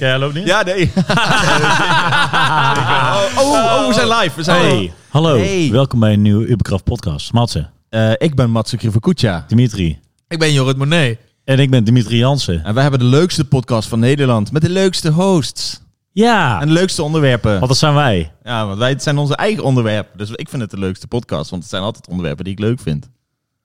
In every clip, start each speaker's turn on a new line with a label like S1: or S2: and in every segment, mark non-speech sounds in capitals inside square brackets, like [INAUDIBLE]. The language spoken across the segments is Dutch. S1: Ja, loopt niet?
S2: Ja, [LAUGHS] nee. oh, oh, oh, we zijn live. We zijn
S1: Hey, hallo.
S2: Hey.
S1: Welkom bij een nieuwe Uberkraft podcast. Matze,
S2: Eh, ik ben Mats Krivokucha.
S1: Dimitri
S3: Ik ben Jorrit Monet.
S1: en ik ben Dimitri Jansen.
S2: En wij hebben de leukste podcast van Nederland. Met de leukste hosts.
S1: Ja,
S2: En de leukste onderwerpen.
S1: want dat zijn wij.
S2: Ja, want wij het zijn onze eigen onderwerpen. Dus ik vind het de leukste podcast. Want het zijn altijd onderwerpen die ik leuk vind.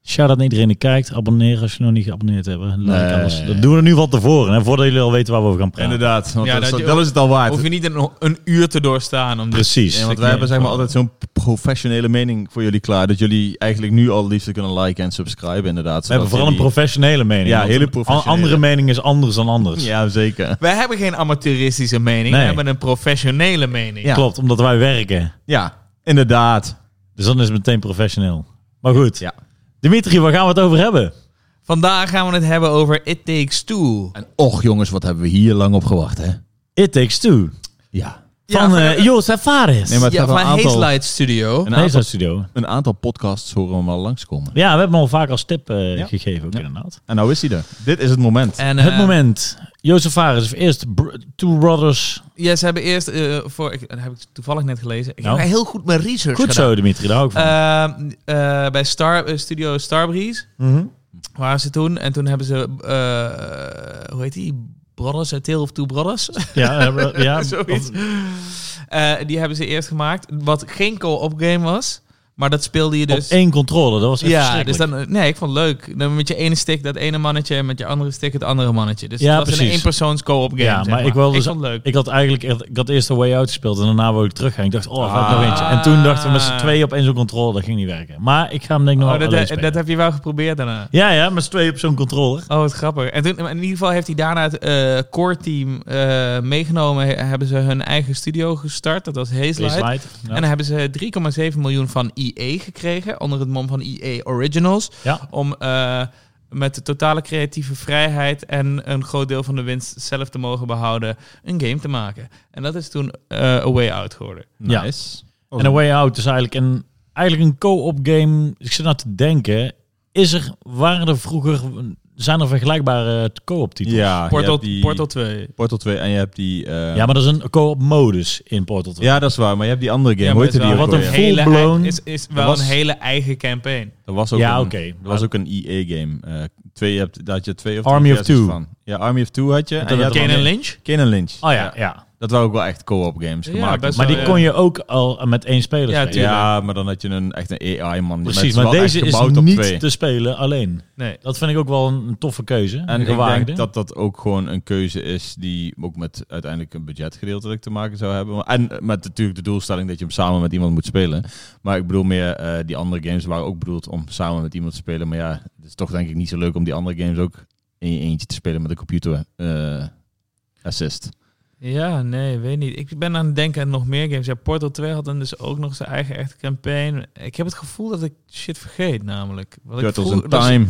S1: Shout out naar iedereen die kijkt. Abonneer als je nog niet geabonneerd hebt. Like
S2: Nee.
S1: alles. Dat doen we nu van tevoren. Hè, voordat jullie al weten waar we over gaan praten.
S2: Inderdaad. Want
S3: Ja,
S2: dat, is,
S3: dat je-
S2: dat is het al waard.
S3: Hoef je niet een, een uur te doorstaan om dit...
S1: Precies.
S2: Ja, want wij hebben zeg maar altijd zo'n professionele mening voor jullie klaar. Dat jullie eigenlijk nu al het liefste kunnen liken en subscriben inderdaad.
S1: We hebben
S2: zodat
S1: vooral een
S2: jullie-
S1: professionele mening.
S2: Ja,
S1: want
S2: hele
S1: een
S2: professionele.
S1: Andere mening is anders dan anders.
S2: Ja, zeker.
S3: Wij hebben geen amateuristische mening,
S1: Nee.
S3: we hebben een professionele mening.
S2: Ja.
S1: Klopt, omdat wij werken.
S2: Ja, inderdaad.
S1: Dus dan is het meteen professioneel. Maar goed.
S2: Ja.
S1: Dimitri, waar gaan we het over hebben?
S3: Vandaag gaan we het hebben over It Takes Two.
S2: En och jongens, wat hebben we hier lang op gewacht, hè?
S1: It Takes Two.
S2: Ja.
S3: Ja,
S1: van
S3: van-
S1: eh Joost Fares.
S2: Nee, maar-
S3: Ja,
S2: hebben
S3: van
S2: een aantal-
S3: Hazelight Studio.
S2: Een
S1: Nee,
S2: aantal,
S1: zo'n studio.
S2: een aantal podcasts horen we wel langskomen.
S1: Ja, we hebben hem al vaak als tip eh,
S2: Ja.
S1: gegeven, ook
S2: Ja.
S1: inderdaad.
S2: En nou is hij er. Dit is het moment.
S3: En,
S1: het
S3: eh,
S1: moment. Jozef Fares heeft eerst Br- Two Brothers.
S3: Ja, ze hebben eerst, eh, voor, ik, dat heb ik toevallig net gelezen, ik
S1: Nou.
S3: heb heel goed mijn research
S1: Goed
S3: gedaan.
S1: zo, Dimitri, daar hou ik van.
S3: Eh, eh, bij Star, eh, Studio Starbreeze
S1: Mhm.
S3: waren ze toen. En toen hebben ze, eh, hoe heet die? Brothers, A Tale of Two Brothers.
S1: Ja, eh,
S3: [LAUGHS]
S1: eh, ja.
S3: Zoiets.
S1: Of-
S3: Eh, die hebben ze eerst gemaakt. Wat geen co-op-game was. Maar dat speelde je
S1: Op
S3: dus...
S1: één controle, dat was echt
S3: ja, dus
S1: verschrikkelijk.
S3: dan, nee, ik vond het leuk. Dan met je ene stick dat ene mannetje en met je andere stick het andere mannetje. Dus
S1: Ja,
S3: het was een
S1: precies.
S3: eenpersoons co-op game.
S1: Ja,
S3: zeg
S1: maar ik wilde dus-
S3: vond het leuk.
S1: Ik had eigenlijk ik had eerst de Way Out gespeeld en daarna wou ik teruggaan. Ik dacht, oh, ga ik nog
S2: Ah.
S1: eentje. En toen dachten we met z'n tweeën op één zo'n controle, dat ging niet werken. Maar ik ga hem denk ik nog
S3: Oh,
S1: wel
S3: dat,
S1: alleen
S3: dat,
S1: spelen.
S3: heb je wel geprobeerd daarna.
S1: Ja, ja, met z'n tweeën op zo'n controller.
S3: Oh, wat grappig. En toen, in ieder geval heeft hij daarna het eh, core team eh, meegenomen. He- hebben ze hun eigen studio gestart. Dat was Hazelight.
S1: Slide. Ja.
S3: En dan hebben ze 3,7 miljoen van EA gekregen. Onder het mom van EA Originals.
S1: Ja.
S3: Om eh, met de totale creatieve vrijheid en een groot deel van de winst zelf te mogen behouden. een game te maken. En dat is toen eh A Way Out
S2: Ah,
S3: geworden.
S1: Ja.
S2: Nice.
S1: En Oh. A Way Out is eigenlijk een, eigenlijk een co-op game. Ik zit nou te denken, is er, waren er vroeger, zijn er vergelijkbare eh, co-op titels?
S2: Ja, je
S3: Portal,
S2: hebt die
S3: Portal 2.
S2: Portal 2 en je hebt die... eh,
S1: Ja, maar dat is een co-op modus in Portal 2.
S2: ja, dat is waar. Maar je hebt die andere game.
S3: Ja,
S2: Hoe
S3: maar
S2: heette
S3: het is
S2: die
S3: wel
S2: ook
S1: wat een
S2: alweer?
S1: f-
S3: Hele
S1: Full-blown.
S3: ei- is, is wel
S2: was-
S3: een hele eigen campaign.
S2: Er was ook
S1: Ja,
S2: een-
S1: oké.
S2: Er was ook een E EA-game. Eh, twee, je hebt, daar had je twee of drie
S1: Army of
S2: versies
S1: Two.
S2: Van. Ja, Army of Two had je. En,
S1: toen
S2: je had
S1: had
S3: Kane
S2: dan-
S3: en Lynch?
S2: Kane en Lynch.
S1: Oh ja, ja.
S2: Dat waren ook wel echt co-op games
S3: Ja,
S2: gemaakt.
S3: best
S1: Maar
S3: Zo,
S1: die
S3: ja.
S1: kon je ook al eh, met één speler
S3: Ja,
S1: spelen.
S3: tuurlijk.
S2: Ja, maar dan had je een, echt een AI-man.
S1: Precies, maar deze is niet te spelen alleen.
S3: Nee.
S1: Dat vind ik ook wel een toffe keuze.
S2: En
S1: een
S2: ik
S1: gewaagde.
S2: denk dat dat ook gewoon een keuze is die ook met uiteindelijk een budget gedeeltelijk te maken zou hebben. Maar- En met natuurlijk de doelstelling dat je hem samen met iemand moet spelen. Maar ik bedoel meer, eh, die andere games waren ook bedoeld om samen met iemand te spelen. Maar ja, het is toch denk ik niet zo leuk om die andere games ook in je eentje te spelen met een computer eh, assist.
S3: Ja, nee, weet niet. Ik ben aan het denken aan nog meer games. Ja, Portal 2 had dan dus ook nog zijn eigen echte campaign. Ik heb het gevoel dat ik shit vergeet, namelijk. Wat
S2: Turtles
S3: ik
S2: in
S3: vroeg- dat is-
S2: Time.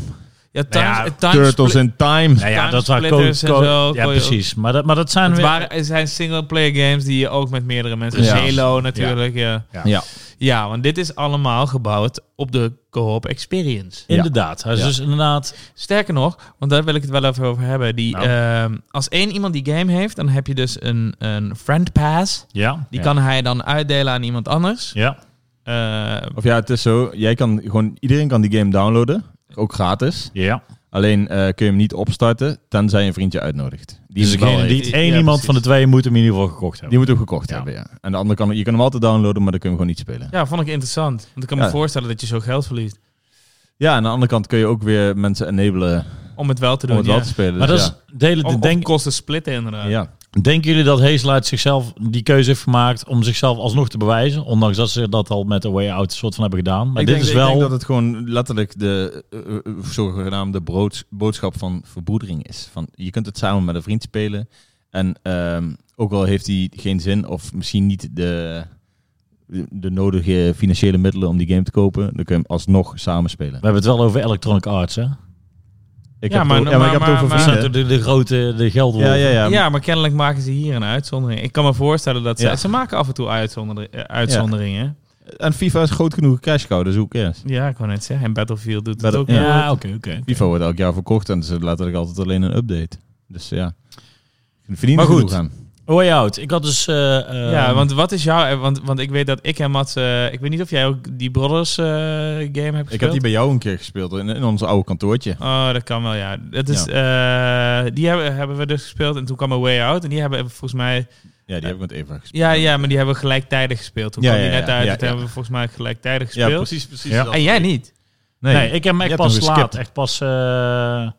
S3: Ja, Time,
S1: Nou ja,
S3: Time
S2: Turtles
S3: Split-
S2: in Time.
S1: nou ja,
S3: Time
S1: dat waren
S3: Splitters en zo,
S1: Ja,
S3: kon je ook-
S1: precies. Maar dat, maar dat zijn
S3: Het
S1: weer...
S3: waren, er zijn single-player games die je ook met meerdere mensen...
S2: Ja.
S3: Halo natuurlijk, ja. ja.
S1: Ja.
S2: Ja.
S3: want dit is allemaal gebouwd op de co-op experience.
S1: Inderdaad. Hij is
S2: Ja.
S1: dus inderdaad...
S3: Sterker nog, want daar wil ik het wel even over hebben. Die,
S1: Nou.
S3: ehm, als één iemand die game heeft, dan heb je dus een, een friend pass.
S1: Ja.
S3: Die
S2: Ja.
S3: kan hij dan uitdelen aan iemand anders.
S1: Ja.
S3: Eh,
S2: Of ja, het is zo, jij kan gewoon, iedereen kan die game downloaden. Ook gratis.
S1: Ja.
S2: Alleen eh, kun je hem niet opstarten, tenzij je een vriendje uitnodigt. Die
S1: Dus
S2: hem wel
S1: degene
S2: heeft.
S1: die
S3: heeft.
S1: één
S3: Ja,
S1: iemand
S3: precies.
S1: van de twee moet hem in ieder geval gekocht hebben.
S2: Die moet hem gekocht
S1: Ja.
S2: hebben, ja. En de andere kan, je kan hem altijd downloaden, maar dan kun je hem gewoon niet spelen. Ja.
S3: Ja, vond ik interessant. Want ik kan
S2: Ja.
S3: me voorstellen dat je zo geld verliest.
S2: aan de andere kant kun je ook weer mensen enablen
S3: Om het wel te doen.
S2: om het wel
S3: ja. Oh,
S2: te spelen.
S1: Maar dat
S2: Dus
S1: is
S2: ja.
S1: de hele...
S3: Om,
S1: de- denk,
S3: kosten splitten inderdaad.
S2: Ja.
S1: denken jullie dat Hazelight zichzelf die keuze heeft gemaakt om zichzelf alsnog te bewijzen? Ondanks dat ze dat al met A Way Out soort van hebben gedaan. Maar
S2: ik,
S1: dit
S2: denk,
S1: is
S2: ik denk
S1: wel...
S2: dat het gewoon letterlijk de eh, eh, eh, zogenaamde broods- boodschap van verbroedering is. Van, je kunt het samen met een vriend spelen. En ehm, ook al heeft hij geen zin of misschien niet de, de nodige financiële middelen om die game te kopen, dan kun je hem alsnog samen spelen.
S1: We hebben het wel over Electronic Arts, hè? Dus
S2: Ik
S3: Ja,
S2: heb
S3: maar-
S2: het, ook- ja, maar, ik heb
S3: maar-
S2: het over
S3: maar-
S1: Dat zijn
S2: vrienden.
S1: natuurlijk de grote de geldwolven.
S2: Ja, ja, ja.
S3: Ja, maar kennelijk maken ze hier een uitzondering. Ik kan me voorstellen dat ze...
S2: Ja.
S3: Ze maken af en toe uitzonder- eh, uitzonderingen.
S2: En FIFA is groot genoeg cash cow, dus hoe cares?
S3: Ja. ik wou net zeggen. En Battlefield doet
S2: Battle-
S3: het ook.
S2: ja.
S3: wel.
S1: Ja, oké, oké.
S2: FIFA wordt elk jaar verkocht en ze is letterlijk altijd alleen een update. Dus ja. Verdien
S1: Maar
S2: er genoeg
S1: goed.
S2: aan.
S1: A Way Out. Ik had dus... eh, eh,
S3: ja, want wat is jouw... Want, want ik weet dat ik en Mats... eh, ik weet niet of jij ook die Brothers eh, game hebt gespeeld.
S2: Ik had die bij jou een keer gespeeld in, in ons oude kantoortje.
S3: Oh, dat kan wel, ja. Dat is, eh, die hebben, hebben we dus gespeeld en toen kwam A Way Out. En die hebben we volgens mij...
S2: Ja, die heb ik met Eva gespeeld.
S3: Ja, ja, maar die hebben we gelijktijdig gespeeld. Toen
S2: Ja,
S3: kwam die
S2: ja,
S3: net
S2: ja,
S3: uit.
S2: ja,
S3: dat
S2: ja.
S3: hebben we volgens mij gelijktijdig
S2: Ja,
S3: gespeeld.
S2: precies, precies.
S1: Ja.
S2: dat.
S3: En jij niet.
S1: nee, ik heb hem
S2: Je
S1: echt
S2: hebt hem
S1: pas laat.
S2: geskipt.
S1: Echt pas... eh,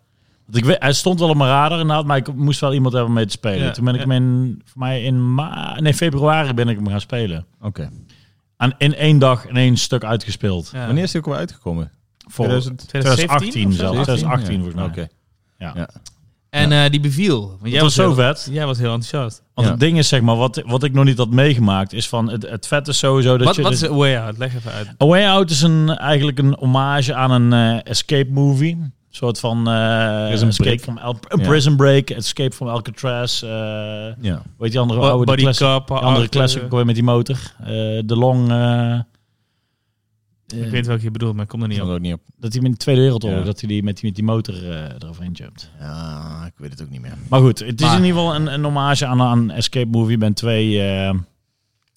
S1: want ik weet, hij stond wel op mijn radar inderdaad, maar ik moest wel iemand hebben om mee te spelen.
S3: Ja,
S1: Toen ben ik
S3: ja.
S1: hem in, voor mij in ma nee, februari ben ik hem gaan spelen.
S2: Oké.
S1: Aan, in één dag in één stuk uitgespeeld.
S3: Ja.
S2: Wanneer is die ook weer uitgekomen?
S1: Voor
S2: 2000?
S1: 2018
S3: of zo?
S1: zelfs. 2018
S2: Ja.
S1: volgens mij.
S2: Oké.
S3: En eh, die beviel. Want jij
S1: Dat was zo
S3: heel-
S1: vet.
S3: Jij was heel enthousiast.
S1: Want
S2: Ja.
S1: het ding is, zeg maar, wat, wat ik nog niet had meegemaakt, is van het, het vet is sowieso dat
S3: Wat,
S1: je.
S3: wat
S1: dus-
S3: is A Way Out? Leg even uit.
S1: A Way Out is een, eigenlijk een hommage aan een eh, escape movie. Een soort van eh,
S2: Prison
S1: escape
S2: Break.
S1: from Al- een
S2: Ja.
S1: prison break, escape from Alcatraz. eh,
S2: Ja.
S1: weet je andere
S3: Bo-
S1: oude
S3: Body
S1: die classic,
S3: Cup,
S1: die andere
S3: Arthur.
S1: classic ook weer met die motor, Eh, de long. eh,
S3: Ik weet welke je bedoelt, maar ik kom er
S2: Ik
S3: niet
S2: kwam
S3: op.
S2: er ook niet op.
S1: dat hij met de Tweede Wereldoorlog,
S2: Ja.
S1: dat hij die met, die met die motor eh eroverheen jumpt.
S2: Ja, ik weet het ook niet meer.
S1: Maar goed, het is
S3: Maar-
S1: in ieder geval een, een hommage aan aan een escape movie. Je bent twee, eh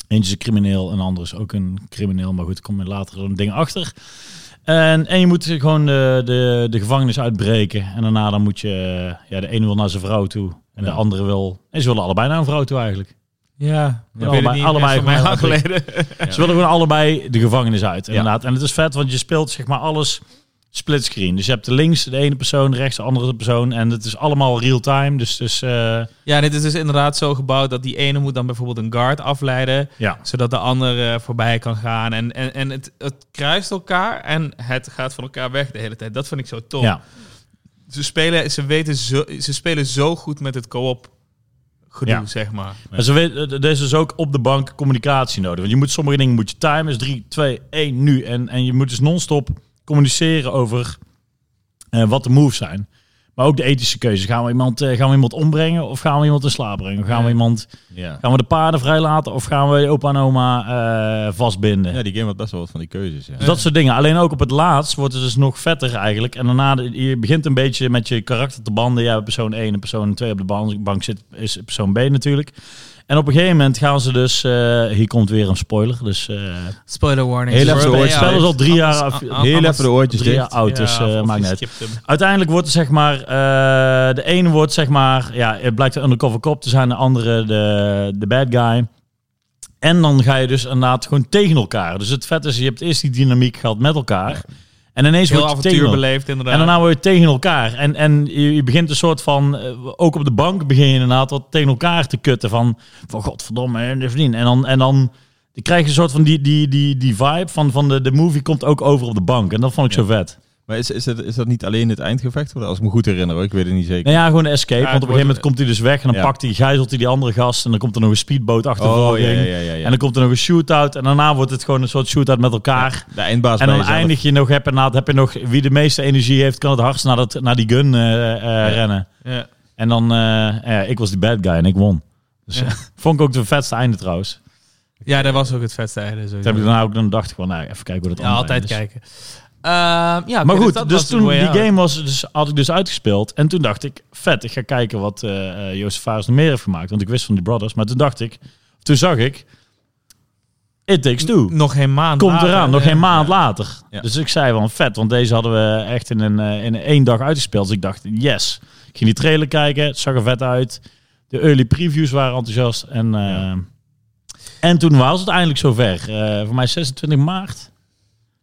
S1: eentje is een crimineel en ander is ook een crimineel. Maar goed, ik kom er later een ding achter. En, en je moet gewoon de, de, de gevangenis uitbreken. En daarna dan moet je, eh, ja, de ene wil naar zijn vrouw toe. En de
S2: Ja.
S1: andere wil, en ze willen allebei naar een vrouw toe eigenlijk.
S3: Ja, ik weet het
S1: allebei-
S3: niet.
S1: allebei
S3: Allebei mij
S1: gewoon
S3: lang geleden.
S1: Ze willen gewoon allebei de gevangenis uit,
S2: Ja.
S1: inderdaad. En het is vet, want je speelt zeg maar alles splitscreen. Dus je hebt de links de ene persoon, rechts de andere persoon. En het is allemaal real-time, dus het is... eh,
S3: Ja, dit is dus inderdaad zo gebouwd dat die ene moet dan bijvoorbeeld een guard afleiden,
S1: ja.
S3: zodat de ander eh, voorbij kan gaan. En, en, en het, het kruist elkaar en het gaat van elkaar weg de hele tijd. Dat vind ik zo tof.
S1: ja,
S3: Ze, spelen, ze, weten zo, ze spelen zo goed met het co-op gedoe,
S1: Ja.
S3: zeg maar.
S1: Maar ze weet, er is dus ook op de bank communicatie nodig. Want je moet sommige dingen moet je timen. Dus 3, 2, 1, nu. En, en je moet dus non-stop communiceren over eh, wat de moves zijn. Maar ook de ethische keuze. Gaan we iemand, eh, gaan we iemand ombrengen of gaan we iemand in slaap brengen? Of gaan, we
S3: Ja.
S1: iemand,
S2: Ja.
S1: gaan we de paarden vrijlaten of gaan we opa en oma eh, vastbinden?
S2: ja, die game had best wel wat van die keuzes. Ja.
S1: Dus dat soort dingen. Alleen ook op het laatst wordt het dus nog vetter eigenlijk. En daarna, de- je begint een beetje met je karakter te banden. Ja, persoon 1 en persoon 2 op de ban- bank zit, is persoon B natuurlijk. En op een gegeven moment gaan ze dus... eh, hier komt weer een spoiler, dus... eh,
S3: Spoiler warning.
S2: Heel even
S1: het
S2: de
S1: spel- het
S2: oortjes
S1: spel is al drie jaar, of-
S2: Heel even de oortjes
S1: drie jaar
S2: dicht.
S1: oud, dus eh maakt niet uit.
S3: uit.
S1: Uiteindelijk wordt er zeg maar... eh, de ene wordt zeg maar... Ja, het blijkt een undercover cop te zijn. De andere de, de bad guy. En dan ga je dus inderdaad gewoon tegen elkaar. Dus het vet is, je hebt eerst die dynamiek gehad met elkaar. En ineens
S3: Heel
S1: wordt je tegen
S3: avontuur
S1: elkaar.
S3: beleefd, inderdaad.
S1: En daarna word je tegen elkaar. En, en je, je begint een soort van, eh, ook op de bank begin je inderdaad wat tegen elkaar te kutten. Van, van godverdomme, en dit verdien. En dan, en dan krijg je een soort van die, die, die, die vibe van, van de, de movie komt ook over op de bank. En dat vond ik zo vet.
S2: Maar is, is, dat, is dat niet alleen het eindgevecht? Als ik me goed herinner, hoor. ik weet het niet zeker.
S1: Nou ja, gewoon de escape.
S3: Ja,
S1: want op een
S3: het
S1: gegeven moment
S3: wordt-
S1: komt hij dus weg. En dan
S2: Ja.
S1: pakt hij, gijzelt hij die andere gast. En dan komt er nog een speedboot achtervolging.
S2: Oh, ja, ja, ja. ja,
S1: En dan komt er nog een shootout. En daarna wordt het gewoon een soort shootout met elkaar.
S2: de eindbaas
S1: En
S2: bij
S1: dan
S2: jezelf.
S1: eindig je nog, heb, je na- heb je nog wie de meeste energie heeft, kan het hardst naar, dat, naar die gun eh, eh, rennen.
S3: Ja.
S1: En dan, eh, ja, ik was die bad guy en ik won. Dus
S3: Ja.
S1: eh, [LAUGHS] vond ik ook de vetste einde trouwens. Toen
S3: ja, dat was ook het vetste einde. sowieso.
S1: heb ik daarna ook dan dacht ik van, nou, even kijken hoe dat
S3: Ja,
S1: andere
S3: altijd
S1: einde is.
S3: kijken. Ehm, ja,
S1: Maar
S3: oké,
S1: goed,
S3: dat
S1: dus
S3: was
S1: toen
S3: Way
S1: die
S3: Out.
S1: game was, dus, had ik dus uitgespeeld. En toen dacht ik, vet, ik ga kijken wat eh eh, Joost Fares nog meer heeft gemaakt. Want ik wist van die Brothers. Maar toen dacht ik, toen zag ik, It Takes Two.
S3: N- Nog geen maand
S1: Komt
S3: later,
S1: eraan, nog
S3: eh,
S1: geen maand later.
S2: Ja.
S1: Dus ik zei van vet, want deze hadden we echt in, een, eh, in één dag uitgespeeld. Dus ik dacht, yes. Ik ging die trailer kijken, het zag er vet uit. De early previews waren enthousiast. En, eh,
S2: Ja.
S1: en toen was het eindelijk zover. Eh voor mij 26 maart.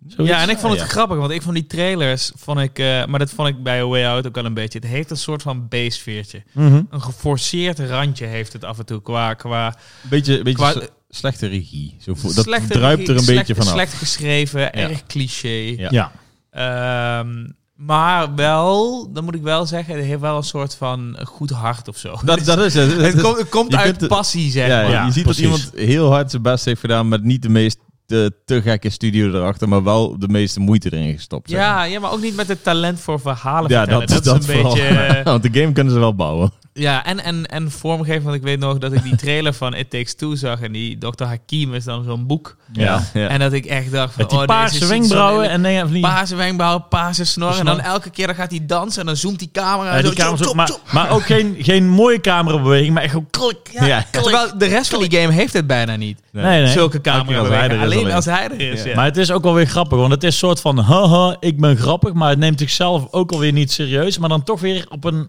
S1: Zoiets.
S3: Ja, en ik vond het
S2: Ja.
S3: grappig, want ik vond die trailers, vond ik, eh, maar dat vond ik bij A Way Out ook wel een beetje. Het heeft een soort van beestveertje.
S1: Mhm.
S3: Een geforceerd randje heeft het af en toe qua, qua
S2: Beetje, beetje
S3: Qua-
S2: s- slechte regie. Zo voel- dat
S3: slechte
S2: druipt
S3: regie,
S2: er een
S3: slecht-
S2: beetje vanaf.
S3: Slecht geschreven, erg cliché.
S2: Ja.
S1: Ja.
S3: Ehm, maar wel, dan moet ik wel zeggen, het heeft wel een soort van goed hart of zo.
S2: Dat, dat is het.
S3: het, komt, het komt
S2: je
S3: uit
S2: kunt het-
S3: passie, zeg
S2: ja,
S3: maar.
S2: ja,
S1: Ja,
S2: je ziet
S1: precies.
S2: dat iemand heel hard zijn best heeft gedaan met niet de meest eh, te gekke studio erachter, maar wel de meeste moeite erin gestopt. zeg maar.
S3: Ja, ja, maar ook niet met het talent voor verhalen
S2: ja
S3: vertellen.
S2: dat, dat,
S3: is een
S2: vooral.
S3: beetje... eh,
S2: Want de game kunnen ze wel bouwen.
S3: Ja, en, en, en vormgeven, want ik weet nog dat ik die trailer van It Takes Two zag. En die Dr. Hakim is dan zo'n boek.
S1: Ja.
S2: Ja.
S3: En dat ik echt dacht van...
S1: Met die
S3: oh, deze ziet
S1: paarse
S3: zo
S1: wenkbrauwen
S3: lelijk.
S1: en dingen van die...
S3: Paarse wenkbrauwen, paarse snor. En dan
S1: Snor.
S3: elke keer dan gaat hij dansen en dan zoomt die camera.
S1: Ja,
S3: zo,
S1: die camera's
S3: chop,
S1: ook, maar,
S3: chop, chop.
S1: maar ook geen, geen mooie camerabeweging, maar echt ook klik.
S2: Ja. Ja.
S3: Terwijl de rest van die game heeft het bijna niet.
S1: Nee, nee.
S3: Zulke camera
S2: Elke keer als hij er
S3: bewegingen.
S2: is
S3: Alleen
S2: alleen.
S3: als hij er is. Ja.
S1: Maar het is ook wel weer grappig, want het is soort van, haha, ik ben grappig, maar het neemt zichzelf ook alweer niet serieus, maar dan toch weer op een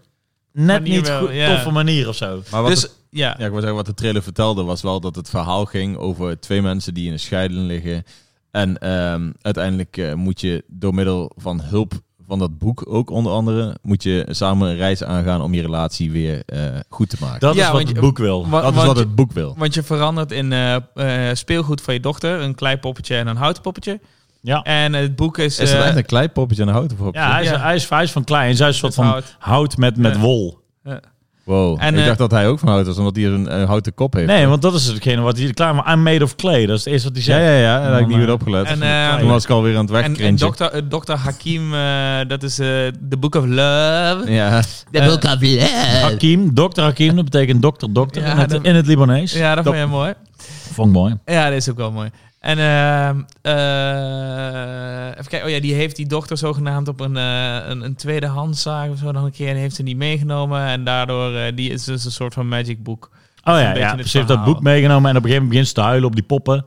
S1: net
S3: Manier
S1: niet
S3: wel,
S1: goed,
S3: ja.
S1: toffe manier of zo.
S2: Maar wat
S3: dus
S2: het-
S3: ja.
S2: ja, ik wil zeggen, wat de trailer vertelde was wel dat het verhaal ging over twee mensen die in een scheiding liggen. En ehm, uiteindelijk eh, moet je door middel van hulp van dat boek ook onder andere, moet je samen een reis aangaan om je relatie weer eh, goed te maken. Dat,
S1: Dat
S3: Ja,
S1: is wat
S3: want
S1: het
S3: je-
S1: boek wil.
S3: Wa-
S2: is wat
S3: want je-
S2: het boek wil.
S3: Want je verandert in eh, eh, speelgoed van je dochter. Een klein poppetje en een houten poppetje.
S1: Ja.
S3: En het boek is...
S2: Is dat
S3: eh,
S2: echt een kleinpoppetje en een houten poppetje?
S1: Ja, hij is,
S3: Ja.
S1: Hij, is, hij is van klein. Zij is een soort
S3: Met
S1: van
S3: hout.
S1: hout, met, met
S3: Ja.
S1: wol.
S2: Wow,
S3: En,
S2: ik
S3: eh,
S2: dacht dat hij ook van hout was, omdat hij een, een houten kop heeft.
S1: Nee, want dat is hetgene wat hij klaar maar I'm made of clay. Dat is het eerste wat hij
S2: Ja,
S1: zegt.
S2: ja, ja, daar heb ik niet
S1: En,
S2: goed opgelet.
S3: en,
S2: Toen
S3: eh,
S2: was ik alweer aan het
S3: en, en
S2: wegkrintje.
S3: dokter, eh, dokter Hakim, eh, dat is eh, The Book of Love.
S2: Ja,
S4: The Book of Love.
S1: Hakim, dokter Hakim, dat betekent dokter, dokter
S3: Ja,
S1: in, het,
S3: dat-
S1: in het Libanees.
S3: Ja, dat
S1: Dat-
S3: vond jij mooi.
S1: Vond ik mooi.
S3: Ja, dat is ook wel mooi. En ehm, eh, even kijken. Oh ja, die heeft die dochter zogenaamd op een, eh een, een tweedehandszaak of zo nog een keer. En heeft ze niet meegenomen. En daardoor eh, die is dus een soort van magic book.
S1: Oh
S3: is een
S1: ja,
S3: beetje
S1: ja
S3: het
S1: ze heeft dat
S3: verhaal.
S1: boek meegenomen en op een gegeven moment begint ze te huilen op die poppen.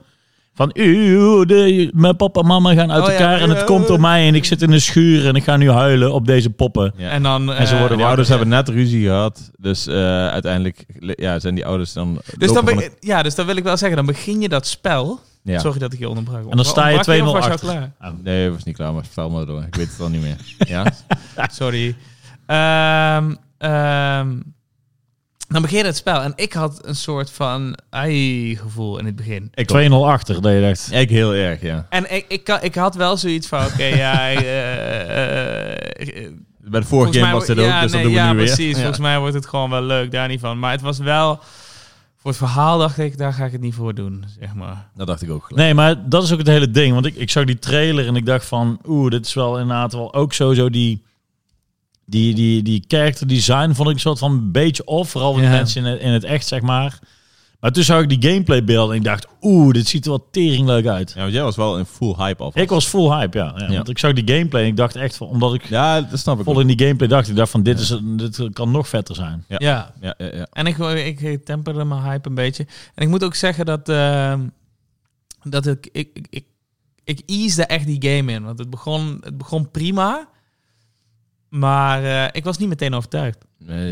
S1: Van, "Eeuw, de- mijn papa en mama gaan uit
S3: Oh ja,
S1: elkaar en het
S3: eeuw.
S1: komt door mij en ik zit in de schuur en ik ga nu huilen op deze poppen.
S2: Ja.
S3: En dan.
S1: En ze
S3: eh,
S1: worden
S2: de ouders hebben net ruzie gehad. Dus eh, uiteindelijk le- ja, zijn die ouders dan...
S3: Dus
S2: lopen
S3: dan,
S2: van
S3: be- ja, dus dan wil ik wel zeggen, dan begin je dat spel.
S2: het- ja.
S3: Sorry dat ik je onderbrak.
S1: En dan sta je 2-0
S3: Onderbrak of was je al
S1: achter.
S3: klaar?
S2: Nee, was niet klaar, maar vertel maar door. Ik weet het al niet
S3: [LAUGHS]
S2: meer. Ja?
S3: Sorry. Ehm, ehm, dan begin je het spel. En ik had een soort van ai gevoel in het begin.
S1: Ik 2-0 achter, dat je dacht.
S2: Ik heel erg, ja.
S3: En ik, ik, kan- ik had wel zoiets van, oké,
S2: [LAUGHS]
S3: ja... eh, eh, eh,
S2: Bij de
S3: volgens
S2: vorige game
S3: mij
S2: was
S3: wo-
S2: dat ook,
S3: ja,
S2: dus
S3: nee,
S2: dat doen we
S3: ja,
S2: nu weer.
S3: precies.
S2: Ja.
S3: Volgens mij wordt het gewoon wel leuk, daar niet van. Maar het was wel... Voor het verhaal dacht ik, daar ga ik het niet voor doen, zeg maar.
S2: Dat dacht ik ook gelijk.
S1: Nee, maar dat is ook het hele ding. Want ik, ik zag die trailer en ik dacht van... Oeh, dit is wel inderdaad wel ook sowieso die... Die, die, die character design vond ik een soort van een beetje off. Vooral met
S3: Ja.
S1: mensen in het, in het echt, zeg maar. Maar toen zag ik die gameplay beelden en ik dacht... Oeh, dit ziet er wel tering leuk uit.
S2: Ja, want jij was wel in full hype af.
S1: Ik was full hype, ja. ja,
S2: Ja.
S1: Want ik zag die gameplay en ik dacht echt van... Omdat ik
S2: Ja, dat snap ik
S1: vol
S2: ook.
S1: in die gameplay dacht, ik dacht van... Dit, is, een- dit kan nog vetter zijn.
S2: Ja.
S3: Ja.
S2: Ja, ja, ja.
S3: En ik, ik temperde mijn hype een beetje. En ik moet ook zeggen dat... ehm, dat ik... Ik, ik, ik, ik easede echt die game in. Want het begon, het begon prima. Maar eh, ik was niet meteen overtuigd.
S2: Nee?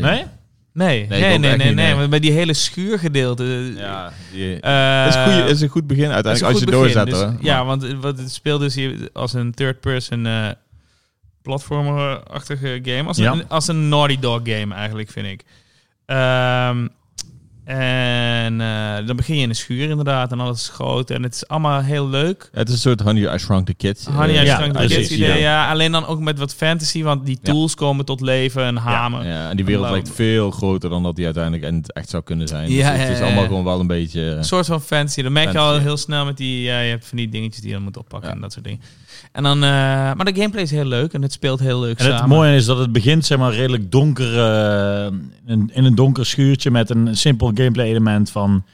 S1: Nee?
S3: Nee,
S2: Nee,
S3: nee,
S2: ik
S3: nee,
S2: ook
S3: nee,
S2: echt
S3: nee,
S2: niet, nee.
S3: want Bij die hele schuurgedeelte.
S2: Ja, die-
S3: eh,
S2: het is, een goeie- is een goed begin
S3: dat is
S2: uiteindelijk,
S3: een
S2: als je
S3: goed begin.
S2: doorzet.
S3: Dus-
S2: hoor.
S3: ja, want eh, wat het speelt dus hier als een third-person eh platformer-achtige game. Als,
S1: Ja.
S3: een, als een Naughty Dog game eigenlijk, vind ik. Ehm, en eh, dan begin je in een schuur inderdaad. En alles is groot. En het is allemaal heel leuk.
S2: Het is een soort Honey, I Shrunk the Kids.
S3: Honey,
S2: Eh,
S3: I
S1: Ja,
S3: Shrunk the
S1: precies,
S3: Kids idee.
S1: ja.
S3: Ja. alleen dan ook met wat fantasy. Want die
S2: Ja.
S3: tools komen tot leven. Een hamer.
S2: Ja, en die wereld
S3: Blauw.
S2: lijkt veel groter dan dat die uiteindelijk in het echt zou kunnen zijn. Dus
S3: eh, Ja,
S2: het
S3: ja,
S2: is
S3: ja,
S2: allemaal
S3: ja.
S2: gewoon wel een beetje... eh,
S3: Een soort van fancy. Dan merk je
S2: Fancy,
S3: al
S2: ja.
S3: heel snel met die... Ja, je hebt van die dingetjes die je dan moet oppakken
S2: Ja.
S3: en dat soort dingen. En dan, eh, maar de gameplay is heel leuk en het speelt heel leuk
S1: En het
S3: samen.
S1: mooie is dat het begint zeg maar redelijk donker eh, in, in een donker schuurtje met een simpel gameplay element van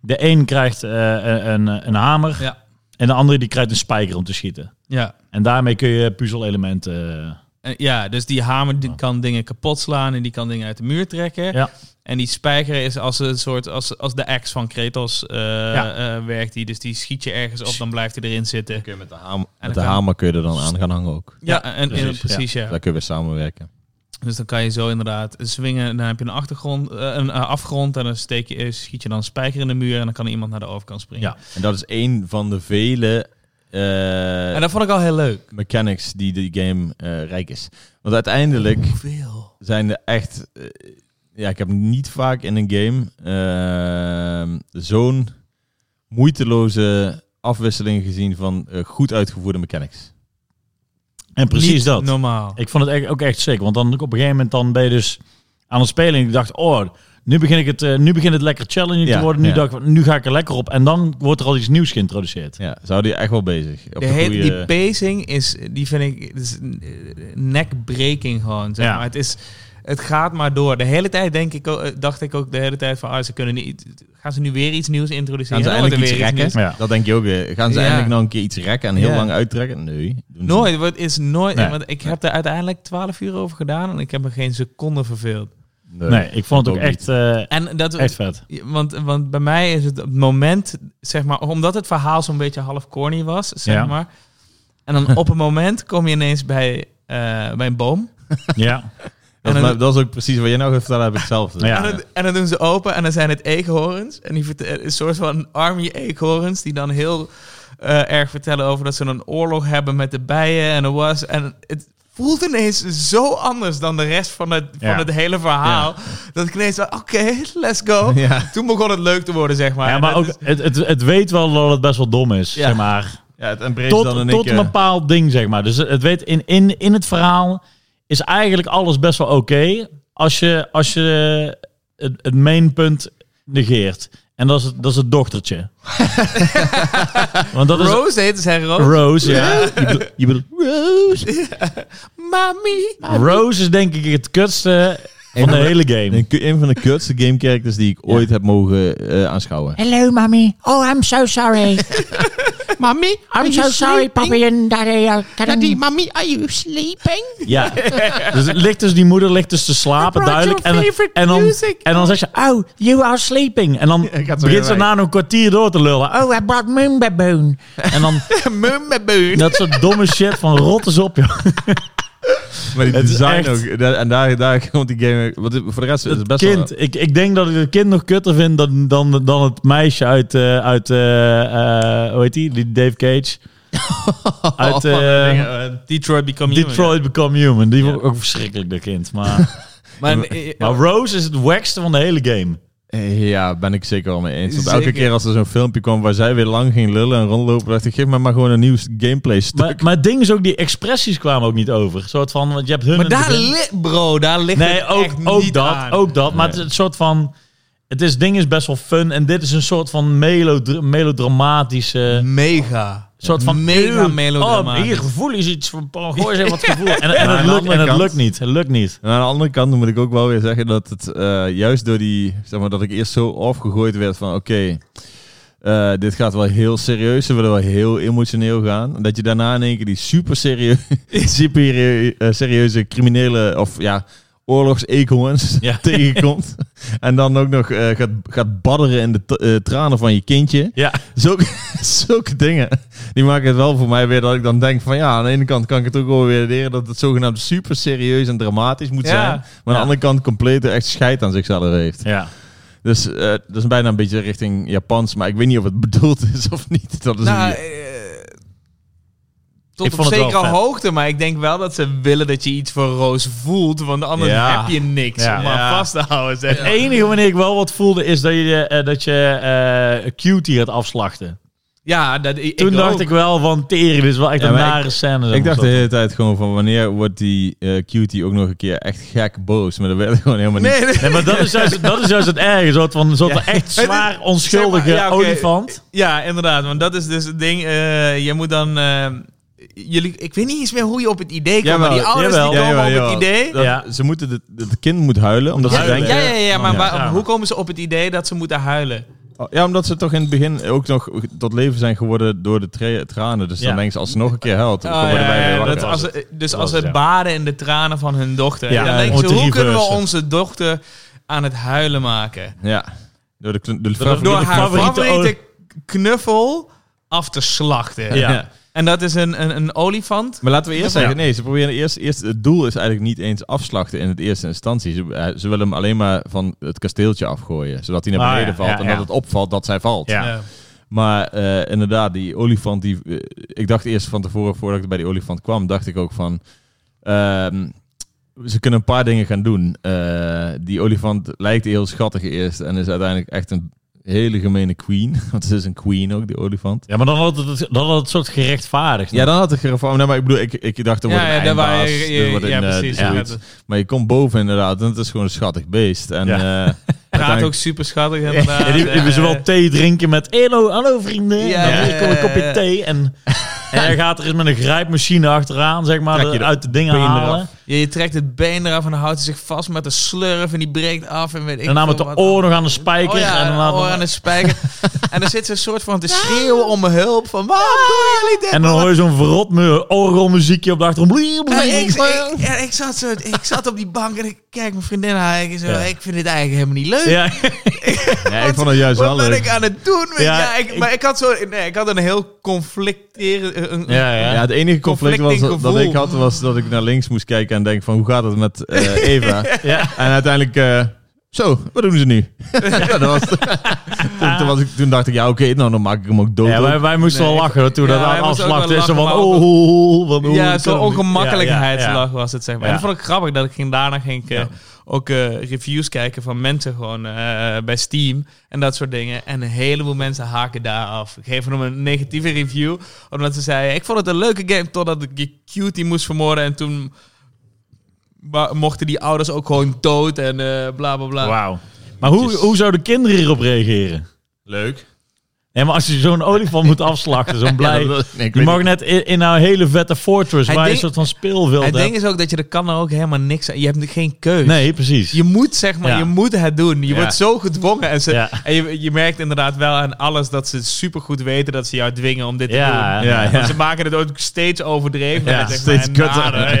S1: de een krijgt eh, een, een hamer
S3: Ja.
S1: en de andere die krijgt een spijker om te schieten.
S3: Ja.
S1: En daarmee kun je puzzelelementen. elementen eh,
S3: En ja, dus die hamer die kan dingen kapot slaan en die kan dingen uit de muur trekken.
S1: Oh. Ja.
S3: En die spijker is als een soort als, als de axe van Kratos eh,
S1: Ja.
S3: eh, werkt die. Dus die schiet je ergens op, dan blijft hij erin zitten.
S2: Kun je met de, hamer,
S3: dan
S2: met de
S3: kan-
S2: hamer kun je er dan aan gaan hangen ook.
S3: Ja, en, en-
S1: precies,
S3: precies, ja.
S2: Daar kun je weer samenwerken.
S3: Dus dan kan je zo inderdaad swingen. En dan heb je een, achtergrond, eh, een eh, afgrond. En dan steek je, eh, schiet je dan een spijker in de muur. En dan kan iemand naar de overkant springen.
S1: Ja.
S2: En dat is één van de vele eh,
S3: En dat vond ik al heel leuk.
S2: mechanics die die game eh, rijk is. Want uiteindelijk
S3: Hoeveel?
S2: zijn er echt... eh, ja, ik heb niet vaak in een game ehm, zo'n moeiteloze afwisseling gezien van eh, goed uitgevoerde mechanics.
S1: En precies
S3: Niet
S1: dat.
S3: Normaal.
S1: Ik vond het echt, ook echt sick, want dan op een gegeven moment dan ben je dus aan het spelen en ik dacht, oh, nu begin ik het, eh, nu begint het lekker challenging
S2: Ja,
S1: te worden. Nu,
S2: ja.
S1: dacht ik, nu ga ik er lekker op en dan wordt er al iets nieuws geïntroduceerd.
S2: Ja, zou die echt wel bezig. Op
S3: De hele,
S2: goede-
S3: die pacing is, die vind ik, het is eh, nekbreking gewoon. Zeg
S1: Ja.
S3: maar. Het is, Het gaat maar door. De hele tijd denk ik, ook- eh, dacht ik ook de hele tijd van, ah, ze kunnen niet, gaan ze nu weer iets nieuws
S2: Gaan
S3: introduceren?
S2: ze
S3: Dan wordt
S2: eindelijk
S3: er
S2: iets
S3: weer
S2: rekken?
S3: nieuws.
S1: Ja.
S2: Dat denk je ook. eh, Gaan ze
S3: Ja.
S2: eindelijk nog een keer iets rekken en heel
S3: Ja.
S2: lang uittrekken? Nee. doen ze niet.
S3: Nooit, het is nooit.
S1: Nee.
S3: Want ik heb er uiteindelijk 12 uur over gedaan en ik heb me geen seconde verveeld.
S1: Nee, ik vond het
S2: Ik
S1: Eh, ook
S2: ook
S1: echt, eh,
S3: En dat,
S1: echt vet.
S3: Want, want bij mij is het op het moment, zeg maar, omdat het verhaal zo'n beetje half corny was, zeg
S1: Ja.
S3: maar. En dan op een moment kom je ineens bij, eh, bij een boom.
S1: Ja,
S2: Dat,
S3: En
S2: is-
S3: dan-
S2: dat is ook precies wat jij nou gaat vertellen, heb ik zelf.
S1: Ja.
S3: En, dan, en dan doen ze open en dan zijn het eekhoorns. En die vertellen, een soort van army eekhoorns die dan heel eh, erg vertellen over dat ze een oorlog hebben met de bijen en de was. En het voelt ineens zo anders dan de rest van het,
S1: Ja.
S3: van het hele verhaal. Dat ik ineens dacht, oké, let's
S1: [LAUGHS]
S3: go.
S2: Ja.
S3: Toen begon het leuk te worden, zeg maar.
S1: ja
S3: En
S1: maar
S3: dat
S1: ook,
S3: is-
S1: het, het, het weet wel dat het best wel dom is,
S2: Ja.
S1: zeg maar.
S2: Ja, het embrace
S1: tot,
S2: dan in één
S1: tot
S2: keer.
S1: een bepaald ding, zeg maar. Dus het weet, in, in, in het verhaal is eigenlijk alles best wel oké. als je, als je het, het mainpunt negeert. En dat is het, dat is het dochtertje. Want dat is
S3: Rose heette zij Rose.
S1: Rose. Ja. Je bedoelt- je bedoelt Rose.
S3: Mami.
S1: Rose is denk ik het kutste van de hele game.
S2: Een, een van de kutste game characters die ik ooit heb mogen eh, aanschouwen.
S5: Hello, mommy. Oh, I'm so sorry. mommy, I'm so sorry, Poppy and Daddy. are
S4: Daddy,
S5: getting-
S4: mommy, are you
S3: [LAUGHS]
S4: sleeping?
S1: Ja. Dus het ligt dus die moeder ligt dus te slapen,
S4: I brought
S1: duidelijk.
S4: your
S1: En, dan-
S4: favorite
S1: en, dan,
S4: music.
S1: en dan zeg je, oh, you are sleeping. En dan begint ze na een kwartier door te lullen.
S5: Oh, I brought moon baboon.
S1: En dan
S3: Mumbaboon.
S1: dat soort domme shit van rot eens op, joh.
S2: Maar die
S1: Het is
S2: design
S1: echt-
S2: ook. da- En daar, daar [LAUGHS] komt die game... Want voor de rest is het best wel...
S1: kind. Ik, ik denk dat ik het kind nog kutter vind dan, dan, dan het meisje uit, eh, uit eh, eh, hoe heet die? Die Dave
S3: [LAUGHS]
S1: Cage.
S3: Oh,
S1: uit eh,
S3: Detroit Become Human.
S1: Detroit Become Human. Die vond ik ook verschrikkelijk, dat kind.
S3: [LAUGHS]
S1: Maar,
S3: Maar, eh,
S1: maar Rose is het wackste van de hele game.
S2: Eh, Ja, ben ik zeker wel mee eens. Want elke
S3: Zeker.
S2: keer als er zo'n filmpje kwam waar zij weer lang ging lullen en rondlopen, dacht ik, geef me maar gewoon een nieuw gameplay stuk.
S1: Maar, maar het ding is ook, die expressies kwamen ook niet over. Een soort van, want je hebt hun...
S3: maar
S1: in het
S3: daar
S1: begin.
S3: ligt, bro, daar ligt
S1: Nee,
S3: het
S1: ook,
S3: echt
S1: ook
S3: niet
S1: dat.
S3: aan.
S1: Ook dat. Maar het is
S2: Nee.
S1: een soort van... Het is, ding is best wel fun. En dit is een soort van melodra- melodramatische...
S3: Mega.
S1: Een soort van
S3: mega
S1: eeuw.
S3: melodrama.
S1: Oh, hier gevoel is iets van Paul Gooi heeft [LAUGHS] wat gevoel. En, en,
S2: aan
S1: het,
S2: de
S1: lukt,
S2: andere
S1: en het
S2: kant-
S1: lukt niet. Het lukt niet.
S2: En aan de andere kant moet ik ook wel weer zeggen dat het eh, juist door die, zeg maar, dat ik eerst zo afgegooid werd van, oké, eh, dit gaat wel heel serieus, ze willen wel heel emotioneel gaan. En Dat je daarna in één keer die super, serieus, [LAUGHS] super eh, serieuze criminele, of ja, oorlogseekhoorns
S1: Ja.
S2: [LAUGHS] tegenkomt. En dan ook nog eh, gaat, gaat badderen in de t- eh, tranen van je kindje.
S1: Ja,
S2: Zulke, [LAUGHS] zulke dingen, die maken het wel voor mij weer dat ik dan denk van ja, aan de ene kant kan ik het ook wel weer leren dat het zogenaamd super serieus en dramatisch moet
S3: Ja.
S2: zijn. Maar aan de
S1: Ja.
S2: andere kant compleet er echt scheid aan zichzelf heeft.
S1: ja.
S2: Dus eh, dat is bijna een beetje richting Japans, maar ik weet niet of het [LAUGHS] bedoeld is of niet. Dat is
S3: Nou,
S2: een-
S3: eh, tot
S1: Ik
S3: op
S1: vond het wel
S3: zekere
S1: vet.
S3: hoogte, maar ik denk wel dat ze willen dat je iets voor Roos voelt, want anders
S1: Ja.
S3: heb je niks
S1: Ja.
S3: om aan
S1: Ja.
S3: vast te houden. Zeg.
S1: Het enige wanneer ik wel wat voelde is dat je, eh, dat je eh, cutie gaat afslachten.
S3: Ja, dat, ik,
S1: Toen dacht
S3: ook.
S1: ik wel van tering, dit is wel echt
S2: Ja,
S1: een
S2: maar
S1: nare scène.
S3: eh,
S1: zeg
S2: ik
S1: maar
S2: dacht de
S1: zo.
S2: hele tijd gewoon van wanneer wordt die eh, cutie ook nog een keer echt gek boos. Maar dat werd [LAUGHS] gewoon helemaal niet.
S3: Nee, nee.
S1: Nee, maar dat is juist, dat is juist het erge. Een soort van, een soort van echt zwaar onschuldige
S3: Zeg maar, ja, oké.
S1: olifant.
S3: Ja, inderdaad. Want dat is dus het ding. eh, je moet dan. eh, jullie, ik weet niet eens meer hoe je op het idee komt. maar
S2: Jawel,
S3: die ouders
S1: jawel.
S3: die komen
S2: Jawel,
S3: op
S2: jawel.
S3: het idee.
S2: Dat-
S1: Ja.
S2: Ze moeten het, het kind moet huilen omdat
S1: Ja,
S2: ze denken
S3: Ja, ja, ja, maar
S1: Ja.
S3: waar-
S1: Ja.
S3: hoe komen ze op het idee dat ze moeten huilen?
S2: Oh, Ja, omdat ze toch in het begin ook nog tot leven zijn geworden door de tra- tranen. Dus
S1: Ja.
S2: dan denken ze, als ze nog een keer huilt, dan
S3: Ah,
S2: worden
S3: ja,
S2: wij
S3: ja,
S2: weer
S3: dat
S2: wakker.
S3: als ze- dus als
S1: was het,
S3: ze
S1: ja.
S3: baden in de tranen van hun dochter.
S1: Ja,
S3: dan
S1: ja,
S3: denken
S1: om
S3: ze,
S1: te
S3: hoe kunnen we
S1: reversen.
S3: onze dochter aan het huilen maken?
S2: Ja, door de, kn- de,
S1: Door-
S3: Door
S1: de
S3: haar
S1: favoriete
S3: favoriete, knuffel af te slachten.
S1: Ja.
S2: Ja.
S3: En dat is een, een, een olifant.
S2: Maar laten we eerst
S1: Ja.
S2: zeggen, nee, ze proberen eerst, eerst... Het doel is eigenlijk niet eens afslachten in het eerste instantie. Ze, eh, ze willen hem alleen maar van het kasteeltje afgooien. Zodat hij naar
S1: Ah,
S2: beneden
S1: ja,
S2: valt
S1: ja,
S2: en
S1: ja.
S2: dat het opvalt dat zij valt.
S1: Ja.
S2: Maar eh, inderdaad, die olifant, die, eh, ik dacht eerst van tevoren, voordat ik bij die olifant kwam, dacht ik ook van, ehm, ze kunnen een paar dingen gaan doen. Eh, die olifant lijkt heel schattig eerst en is uiteindelijk echt een hele gemene queen. [LAUGHS] Want ze is een queen ook, die olifant.
S1: Ja, maar dan had het, dan had het soort gerechtvaardigd.
S2: Ja, dan had ik gereformeerd. Nee, maar ik bedoel, ik, ik dacht, er
S3: Ja,
S2: wordt een
S3: ja, daar waar
S2: eindbaas,
S3: je- je-
S2: er wordt
S3: ja,
S2: een, eh,
S3: precies,
S2: zoiets.
S3: ja.
S2: Maar je komt boven inderdaad en het is gewoon een schattig beest. En, eh,
S1: Ja.
S3: [LAUGHS]
S2: ja.
S3: Praat ook super schattig.
S1: [LAUGHS]
S3: inderdaad.
S1: Ja, die, die
S3: Eh,
S1: zowel thee drinken met hallo, hallo vrienden.
S3: Ja,
S1: en dan
S3: ja,
S1: kom ik een
S3: ja, ja. [LAUGHS]
S1: kopje thee. En En hij gaat er eens met een grijpmachine achteraan, zeg maar,
S2: Trek je
S1: de-
S2: de
S1: uit de dingen
S2: been eraf.
S1: halen.
S3: Je, je trekt het been eraf en dan houdt hij zich vast met een slurf en die breekt af en weet ik
S1: En dan
S3: veel
S1: met de
S3: wat.
S1: oor nog aan de spijker.
S3: Oh ja,
S1: en
S3: en
S1: dan
S3: oor aan het
S1: [LAUGHS]
S3: spijker. en dan zit ze een soort van te schreeuwen om hulp. Van, waarom doen jullie dit?
S1: En dan hoor je zo'n verrot mu- orgelmuziekje op de achtergrond. Bliep, bliep,
S3: En ik, ik,
S1: bliep.
S3: ja, ik, zat zo, ik zat op die bank en ik kijk mijn vriendin aan. en Ik, zo,
S1: Ja.
S3: ik vind dit eigenlijk helemaal niet leuk.
S1: Ja,
S2: Nee, ik vond het juist wel
S3: Wat ben
S2: leuk.
S3: ik aan het doen? Weet je?
S1: Ja,
S3: Ja, ik, maar ik had, zo, nee, ik had een heel conflicterend... Een,
S1: ja, ja.
S2: Ja, het enige conflict was,
S3: Conflicting
S2: dat
S3: gevoel.
S2: ik had was dat ik naar links moest kijken en denk van hoe gaat het met eh, Eva?
S1: Ja.
S2: En uiteindelijk, eh, zo, wat doen ze nu? Ja, dat was, toen, toen was ik, toen dacht ik, ja oké, nou dan maak ik hem ook dood.
S1: Ja, wij, wij moesten
S3: Nee.
S1: wel lachen hoor, toen
S3: Ja,
S1: dat
S3: wij
S1: aan
S3: moesten ook
S1: afslag
S3: wel
S1: is. Zo
S3: lachen,
S1: van,
S3: maar
S1: oh,
S3: ook-
S1: oh, oh, oh,
S3: Ja,
S1: oh,
S3: zo'n
S1: oh, oh. Ja,
S3: ongemakkelijkheidslach
S1: ja.
S3: was het, zeg maar.
S1: Ja.
S3: En dat vond ik grappig dat ik ging daarna ging ik, eh,
S1: Ja.
S3: ook eh, reviews kijken van mensen gewoon eh, bij Steam en dat soort dingen. En een heleboel mensen haken daar af. Ik geef hem een negatieve review, omdat ze zeiden, ik vond het een leuke game totdat ik je cutie moest vermoorden. En toen wa- mochten die ouders ook gewoon dood en eh, bla bla bla.
S1: Wauw. Maar hoe, hoe zouden kinderen hierop reageren?
S2: Leuk.
S1: Nee, maar als je zo'n olifant moet afslachten, zo'n blij...
S2: [LAUGHS] Ja, dat- nee, ik
S1: Je
S2: weet
S1: mag
S2: niet.
S1: net in, in een hele vette fortress
S3: Hij
S1: waar je een
S3: denkt-
S1: soort van speelveld
S3: Het ding
S1: hebt.
S3: is ook dat je er kan er ook helemaal niks aan. Je hebt geen keus.
S1: Nee, precies.
S3: Je moet zeg maar,
S1: Ja.
S3: je moet het doen. Je
S2: Ja.
S3: wordt zo gedwongen. En, ze,
S1: Ja.
S3: en je, je merkt inderdaad wel aan alles dat ze supergoed weten dat ze jou dwingen om dit te
S1: Ja,
S3: doen.
S2: ja,
S3: Want
S2: ja.
S3: ze maken het ook steeds overdreven.
S1: Ja,
S3: en zeg
S2: steeds
S3: maar,
S2: kutter.
S1: [LAUGHS]
S3: nader,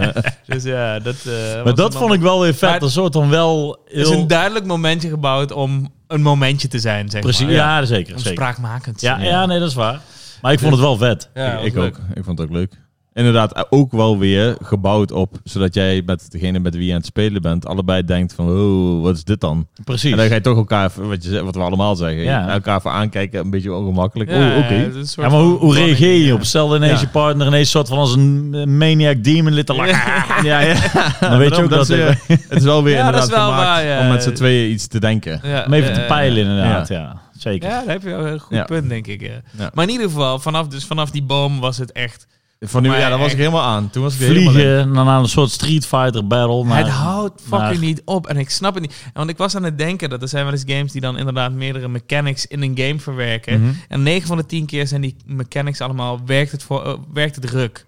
S3: ja. dus ja, dat... eh, was
S1: Maar dat
S3: een
S1: vond ik wel weer vet.
S3: Maar-
S1: dat soort dan wel
S3: Het is
S1: heel...
S3: een duidelijk momentje gebouwd om een momentje te zijn, zeg
S1: Precies,
S3: maar.
S1: ja, zeker.
S3: Om
S1: zeker.
S3: spraakmakend.
S1: Ja, ja, nee, dat is waar. Maar ik vond het wel vet.
S3: Ja, was
S2: ik
S3: leuk.
S2: ook. Ik vond het ook leuk. Inderdaad, eh, ook wel weer gebouwd op, zodat jij met degene met wie je aan het spelen bent, allebei denkt van, oh, wat is dit dan?
S1: Precies.
S2: En dan ga je toch elkaar, even, wat, je, zegt- wat we allemaal zeggen,
S1: Ja.
S2: elkaar even aankijken, een beetje ongemakkelijk.
S3: Ja,
S2: Oeh, Oké.
S3: het is een soort
S1: Ja, maar hoe,
S3: van
S1: hoe reageer je
S3: bonding,
S1: op? Stel ineens
S2: Ja.
S1: je partner ineens soort van als een eh, maniac demon lid te lachen. [LAUGHS]
S2: Ja,
S3: [LAUGHS]
S2: ja.
S1: Dan weet je ook dat...
S2: is,
S1: eh,
S2: eh, [LAUGHS] het is wel weer
S3: Ja, dat is
S2: inderdaad
S3: wel
S2: gemaakt
S3: waar, ja.
S2: om met z'n tweeën iets te denken.
S3: ja. Ja,
S1: Om even
S3: eh,
S1: te peilen inderdaad, ja. Zeker.
S3: Ja, daar heb je wel een goed
S2: Ja.
S3: punt, denk ik. ja.
S2: Ja.
S3: Maar in ieder geval, vanaf, dus vanaf die boom was het echt...
S2: Van nu,
S3: Maar
S2: ja, daar was ik
S3: echt-
S2: helemaal aan. Toen was ik er helemaal in.
S1: Vliegen, dan aan een soort Street Fighter battle. Maar,
S3: het houdt fucking
S1: maar-
S3: niet op. En ik snap het niet. Want ik was aan het denken dat er zijn wel eens games die dan inderdaad meerdere mechanics in een game verwerken.
S1: Mhm.
S3: En 9 van de 10 keer zijn die mechanics allemaal, werkt het, voor, eh, werkt het ruk.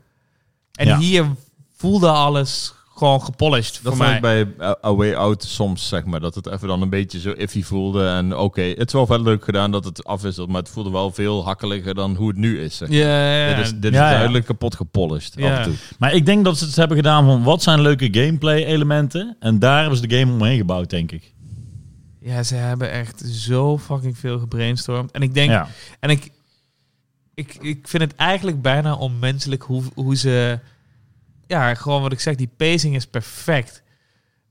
S3: En
S1: Ja.
S3: hier voelde alles gewoon gepolished
S2: Dat
S3: voor
S2: vond
S3: mij.
S2: ik bij A A Way Out soms, zeg maar. Dat het even dan een beetje zo iffy voelde. En oké, het is wel vet leuk gedaan dat het afwisselt. Maar het voelde wel veel hakkeliger dan hoe het nu is. Zeg.
S3: Ja, ja, ja.
S2: Dit is, dit
S1: Ja, dus-
S2: is
S1: ja.
S2: duidelijk kapot gepolished
S3: Ja.
S2: af en toe.
S1: maar ik denk dat ze het hebben gedaan van wat zijn leuke gameplay elementen. En daar hebben ze de game omheen gebouwd, denk ik.
S3: Ja, ze hebben echt zo fucking veel gebrainstormd. En ik denk,
S1: ja.
S3: En ik, ik, ik vind het eigenlijk bijna onmenselijk hoe, hoe ze... Ja, gewoon wat ik zeg, die pacing is perfect.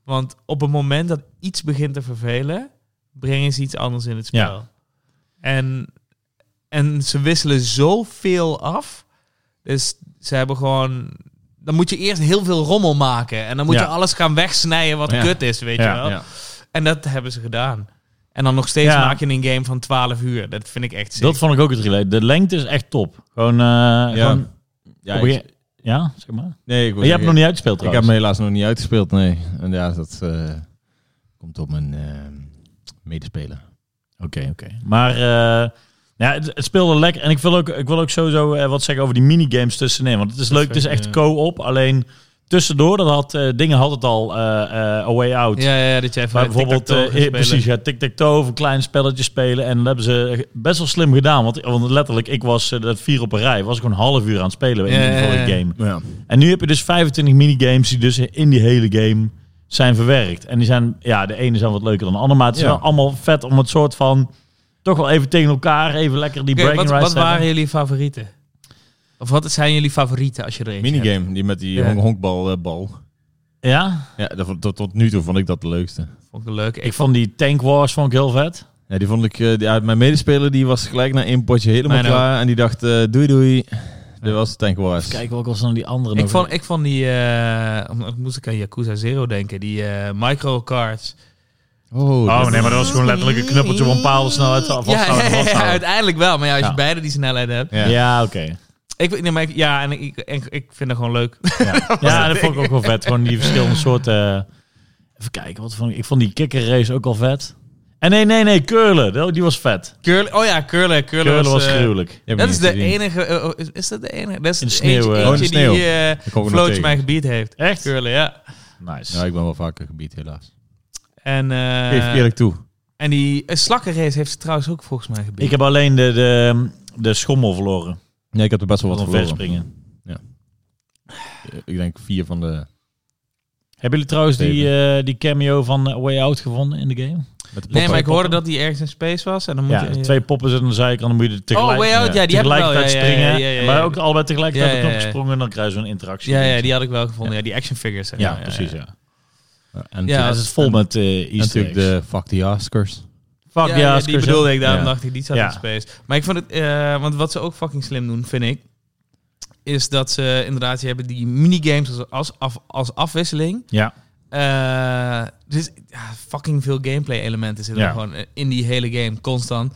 S3: Want op het moment dat iets begint te vervelen, brengen ze iets anders in het spel.
S1: Ja.
S3: En, en ze wisselen zoveel af. Dus ze hebben gewoon... Dan moet je eerst heel veel rommel maken. En dan moet
S1: Ja.
S3: je alles gaan wegsnijden wat
S2: Ja.
S3: kut is, weet
S1: Ja,
S3: je wel.
S2: Ja.
S3: En dat hebben ze gedaan. En dan nog steeds
S1: Ja.
S3: maak je een game van 12 uur. Dat vind ik echt sick.
S1: Dat vond ik ook het relay. De lengte is echt top. Gewoon... eh, gewoon
S2: Ja,
S1: op een
S2: ik,
S1: ge- ja, zeg maar.
S2: nee, ik,
S1: Maar je hebt hem nog niet uitgespeeld
S2: ik heb
S1: trouwens.
S2: hem helaas nog niet uitgespeeld, nee. En ja, dat eh, komt op mijn eh, medespeler.
S1: Oké, oké. Maar eh, ja, het, het speelde lekker. En ik wil ook, ik wil ook sowieso eh, wat zeggen over die minigames tussenin. Want het is leuk, het is echt
S3: ja.
S1: co-op. Alleen tussendoor, dat had, eh, dingen had het al, eh eh, A Way Out.
S3: Ja, ja, dat jij even
S1: Waar bijvoorbeeld, eh, eh, precies, ja, tic-tac-toe of een klein spelletje spelen. En dat hebben ze best wel slim gedaan. Want, want letterlijk, ik was eh, dat vier op een rij. Was ik gewoon een half uur aan het spelen in
S3: Ja,
S1: die
S3: ja,
S1: vorige
S3: ja.
S1: game.
S2: Ja.
S1: En nu heb je dus 25 minigames die dus in die hele game zijn verwerkt. En die zijn, ja, de ene zijn wat leuker dan de andere. Maar het is
S2: Ja.
S1: wel allemaal vet om het soort van... Toch wel even tegen elkaar, even lekker die breaking
S3: wat,
S1: rights
S3: wat
S1: te hebben.
S3: waren jullie favorieten? Of wat zijn jullie favorieten als je er eentje hebt?
S2: Minigame, die met die
S3: Ja.
S2: honk- honkbal eh, bal.
S1: Ja,
S2: Ja, dat, vond- tot, tot nu toe vond ik dat de leukste.
S3: Vond ik leuk.
S1: ik vond die Tank Wars vond ik heel vet.
S2: Ja, die vond ik, eh, die, ja, mijn medespeler die was gelijk na één potje helemaal
S3: Mijn ook.
S2: klaar. En die dacht, eh, doei doei. Dit was het tank was.
S1: Kijk, welke was dan die andere
S3: ik
S1: nog?
S3: vond, ik vond die, eh, om- om- moest ik aan Yakuza Zero denken, die eh microcards.
S2: Oh,
S1: Oh
S2: dat-
S1: nee, maar dat was gewoon letterlijk een knuppeltje op een paal snelheid af.
S3: Ja, ja, ja,
S1: vasthouden.
S3: uiteindelijk wel, maar ja, als
S1: nou- Ja.
S3: je beide die snelheid hebt.
S2: Ja.
S1: Ja, oké.
S3: Ik, nee, maar ik- ja, en ik, ik, ik vind dat gewoon leuk.
S1: Ja. [LAUGHS] ja, dat vond ik ook wel vet. Gewoon die verschillende soorten... eh, even kijken, wat vond ik... Ik vond die kikker race ook al vet. En nee, nee, nee, Curlen. Die- Die was vet.
S3: Curly, oh ja, Curly. Curly,
S1: Curlen was,
S3: was eh,
S1: gruwelijk.
S2: Die heb ik
S3: Dat is
S2: niet
S3: de
S2: gezien.
S3: enige. eh, oh, is, is dat de enige? Dat is
S1: In de
S3: de
S1: sneeuw,
S3: eentje,
S1: eh. Oh, in
S2: de
S3: eentje
S2: sneeuw.
S3: die eh,
S2: Ik kom ook nog
S3: Flootje
S2: tegen.
S3: mijn gebied heeft.
S1: Echt?
S3: Curly, ja.
S1: Nice.
S2: Ja, ik ben wel vaker gebied, helaas.
S3: En, eh,
S2: Geef ik eerlijk toe.
S3: en die eh, slakkenrace heeft ze trouwens ook volgens mij gebied.
S1: Ik heb alleen de, de, de schommel verloren.
S2: Nee, ik heb er best wel wat
S1: Van
S2: verloren.
S1: verspringen.
S2: Ik denk vier van de...
S1: Hebben jullie trouwens die, eh, die cameo van eh, Way Out gevonden in de game?
S2: Met de
S3: nee, maar ik
S1: poppen.
S3: hoorde dat die ergens in space was. En dan moet
S1: Ja,
S3: je,
S1: twee poppen zitten aan de zijkant. Dan moet je tegelijk,
S3: Oh, Way Out, ja, die heb ik wel.
S1: tegelijkertijd
S3: Ja, ja, ja,
S1: springen.
S3: ja, ja, ja.
S1: Maar ook allebei tegelijkertijd
S3: Ja,
S1: op
S3: ja,
S1: de
S3: ja,
S1: knop
S3: ja.
S1: gesprongen. En dan krijgen ze een interactie.
S3: ja, ja, die had ik wel gevonden. Ja, die action figures. zeg
S1: Ja,
S3: maar.
S1: precies. Ja.
S2: poppen. En
S3: Ja,
S1: Ja,
S2: natuurlijk-
S1: het is vol met eh
S2: en
S1: easter
S2: natuurlijk
S1: eggs.
S2: de Fuck the Oscars.
S1: Fuck
S3: Ja,
S1: the
S3: ja, die
S1: Oscars,
S3: bedoelde
S1: hè?
S3: ik, daarom
S1: Ja.
S3: dacht ik, die zat
S1: Ja.
S3: in space. Maar ik vond het, eh, want wat ze ook fucking slim doen, vind ik, is dat ze inderdaad, je hebben die minigames als, als, af, als afwisseling.
S1: Ja.
S3: Eh, dus ja, fucking veel gameplay elementen zitten
S1: Ja.
S3: er gewoon eh, in die hele game, constant.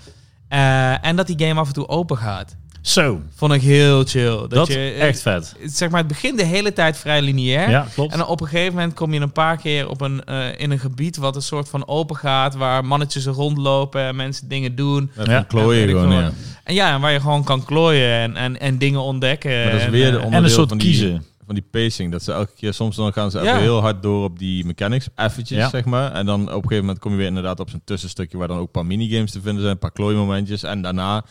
S3: Eh, en dat die game af en toe open gaat,
S1: Zo,
S3: vond ik heel chill. Dat,
S1: dat
S3: je,
S1: is
S3: eh,
S1: echt vet.
S3: Zeg maar, het begint de hele tijd vrij lineair.
S1: Ja, klopt.
S3: En dan op een gegeven moment kom je een paar keer op een, eh, in een gebied wat een soort van open gaat, waar mannetjes rondlopen en mensen dingen doen.
S2: Ja,
S1: Ja.
S2: van klooien
S3: Ja, weet ik
S2: gewoon,
S3: veel
S2: ja.
S3: wat. En ja, en waar je gewoon kan klooien en, en, en dingen ontdekken.
S2: Maar dat is
S3: en,
S2: weer de
S3: eh,
S1: en een
S2: onderdeel
S1: soort
S2: van die-
S1: kiezen.
S2: Van die pacing, dat ze elke keer, soms dan gaan ze
S3: Ja.
S2: even heel hard door op die mechanics, eventjes
S1: Ja.
S2: zeg maar. En dan op een gegeven moment kom je weer inderdaad op zo'n tussenstukje waar dan ook een paar minigames te vinden zijn, een paar klooimomentjes. En daarna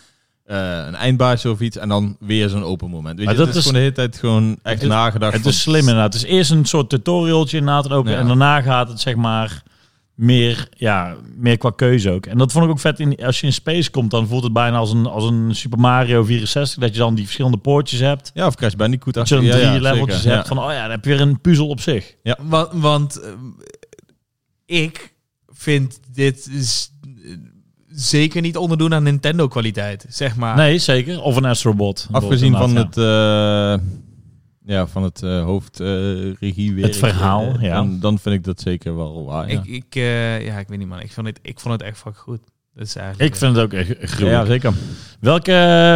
S2: eh, een eindbaasje of iets en dan weer zo'n open moment. Weet
S1: Maar
S2: je, dat
S1: dat
S2: is
S1: is-
S2: gewoon de hele tijd gewoon echt
S1: het-
S2: nagedacht.
S1: Het
S2: van-
S1: is slim inderdaad. Het is eerst een soort tutorialtje inderdaad. Ook,
S2: Ja.
S1: En daarna gaat het zeg maar meer, ja, meer qua keuze ook. En dat vond ik ook vet. In, als je in Space komt, dan voelt het bijna als een, als een Super Mario 64. Dat je dan die verschillende poortjes hebt.
S2: Ja, of Crash Bandicoot.
S1: Dat je dan
S2: ja,
S1: drie
S2: ja,
S1: leveltjes
S2: zeker,
S1: hebt
S2: ja.
S1: van, oh ja, dan heb je weer een puzzel op zich.
S3: Want, want eh, ik vind dit z- zeker niet onderdoen aan Nintendo kwaliteit, zeg maar.
S1: Nee, zeker. Of een Astrobot.
S2: Afgezien van
S1: Inderdaad,
S2: het, eh, ja, van het eh, hoofdregie weer.
S1: Het verhaal, ja.
S2: eh, Dan, dan vind ik dat zeker wel waar. ja.
S3: Ik, ik, eh, ja, ik weet niet man, ik vond het, ik vond het echt fucking goed. Dat is
S1: ja.
S3: eigenlijk
S1: Ik vind het ook echt gruwelijk.
S2: ja, zeker.
S1: Welke,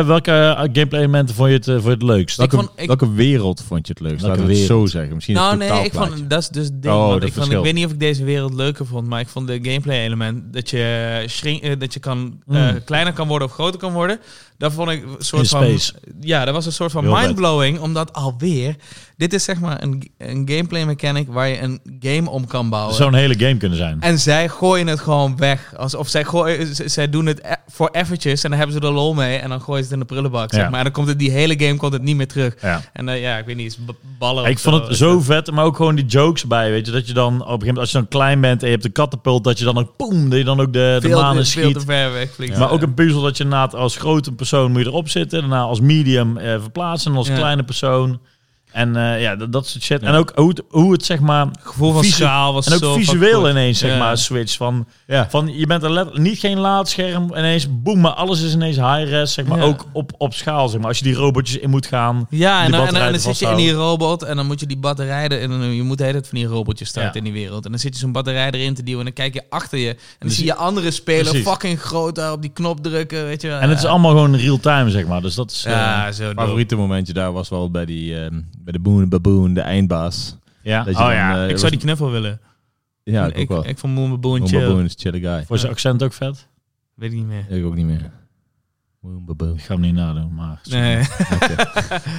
S1: welke gameplay elementen vond je het, eh, vond je het leukst?
S2: Welke,
S3: vond- ik-
S2: welke wereld vond je het leukst?
S1: Welke
S2: Laten we het zo
S1: wereld?
S2: zeggen. Misschien
S3: nou
S2: het
S3: nee, ik vond, dat is dus het ding.
S2: Oh,
S3: want
S2: dat
S3: ik, vond, ik
S2: verschilt.
S3: weet niet of ik deze wereld leuker vond, maar ik vond de gameplay element dat je, shrink, eh, dat je kan, eh,
S1: Mm.
S3: kleiner kan worden of groter kan worden. Dat vond ik een soort
S1: In
S3: van.
S1: space.
S3: Ja, dat was een soort van
S1: Heel vet.
S3: mindblowing, omdat alweer. Dit is zeg maar een, een gameplay mechanic waar je een game om kan bouwen.
S1: Zo'n hele game kunnen zijn.
S3: En zij gooien het gewoon weg. Alsof zij, gooien, z- zij doen het e- voor eventjes en dan hebben ze er lol mee en dan gooien ze het in de prullenbak. Zeg
S1: Ja.
S3: maar. En dan komt het, die hele game komt het niet meer terug.
S1: Ja.
S3: En eh, ja, Oh, eh, ik weet niet, is b- ballen.
S1: Ik
S3: of
S1: vond het
S3: is
S1: zo vet, maar ook gewoon die jokes bij, weet je. Dat je dan op een gegeven moment, als je dan klein bent en je hebt een katapult, dat je dan ook poem, dat je dan ook de, de
S3: veel,
S1: manen
S3: te, veel te
S1: schiet.
S3: ver weg vliegt.
S1: Maar ook een puzzel dat je inderdaad als grote persoon moet je erop zitten. Daarna als medium eh, verplaatsen en als
S3: Ja.
S1: kleine persoon. En eh, ja, dat, dat soort shit. En ook hoe het, hoe het zeg maar...
S3: gevoel van
S1: visu-
S3: schaal was
S1: En ook
S3: zo
S1: visueel
S3: fucking
S1: ineens, zeg
S3: Ja.
S1: maar, switch van...
S2: Ja.
S1: Van, je bent er let- niet geen laadscherm, ineens boem, maar alles is ineens high-res, zeg maar,
S3: Ja.
S1: ook op, op schaal, zeg maar. Als je die robotjes in moet gaan.
S3: goed. Ja, en
S1: die
S3: dan, en dan- en
S1: batterijen
S3: dan zit je in
S1: vasthouden.
S3: die robot en dan moet je die batterij erin... En dan- je moet de hele tijd van die robotjes starten
S1: Ja.
S3: in die wereld. En dan zit je zo'n batterij erin te duwen en dan kijk je achter je. En dan zie je andere spelers
S1: Dus Precies.
S3: fucking groot daar op die knop drukken, weet je wel.
S1: En het is
S2: Eh,
S3: Ja.
S1: allemaal gewoon real-time, zeg maar. Dus dat is... eh,
S3: Ja, zo dope.
S2: favoriete momentje daar was wel bij, die, ehm, bij de Boon Baboon, de eindbaas.
S1: ja.
S2: Dat je
S1: oh
S2: dan,
S1: ja.
S2: eh,
S3: Ik zou die knuffel willen.
S2: Ja, ik,
S3: ik,
S2: ook wel.
S3: ik vond Moon Baboon
S2: Boon
S3: chill.
S2: Baboon is een chille guy.
S1: Voor zijn accent ook vet.
S3: Weet ik niet meer.
S2: Ik ook niet meer. Boon Baboon.
S1: Ik ga hem niet nadoen, maar... [LAUGHS]
S3: Nee.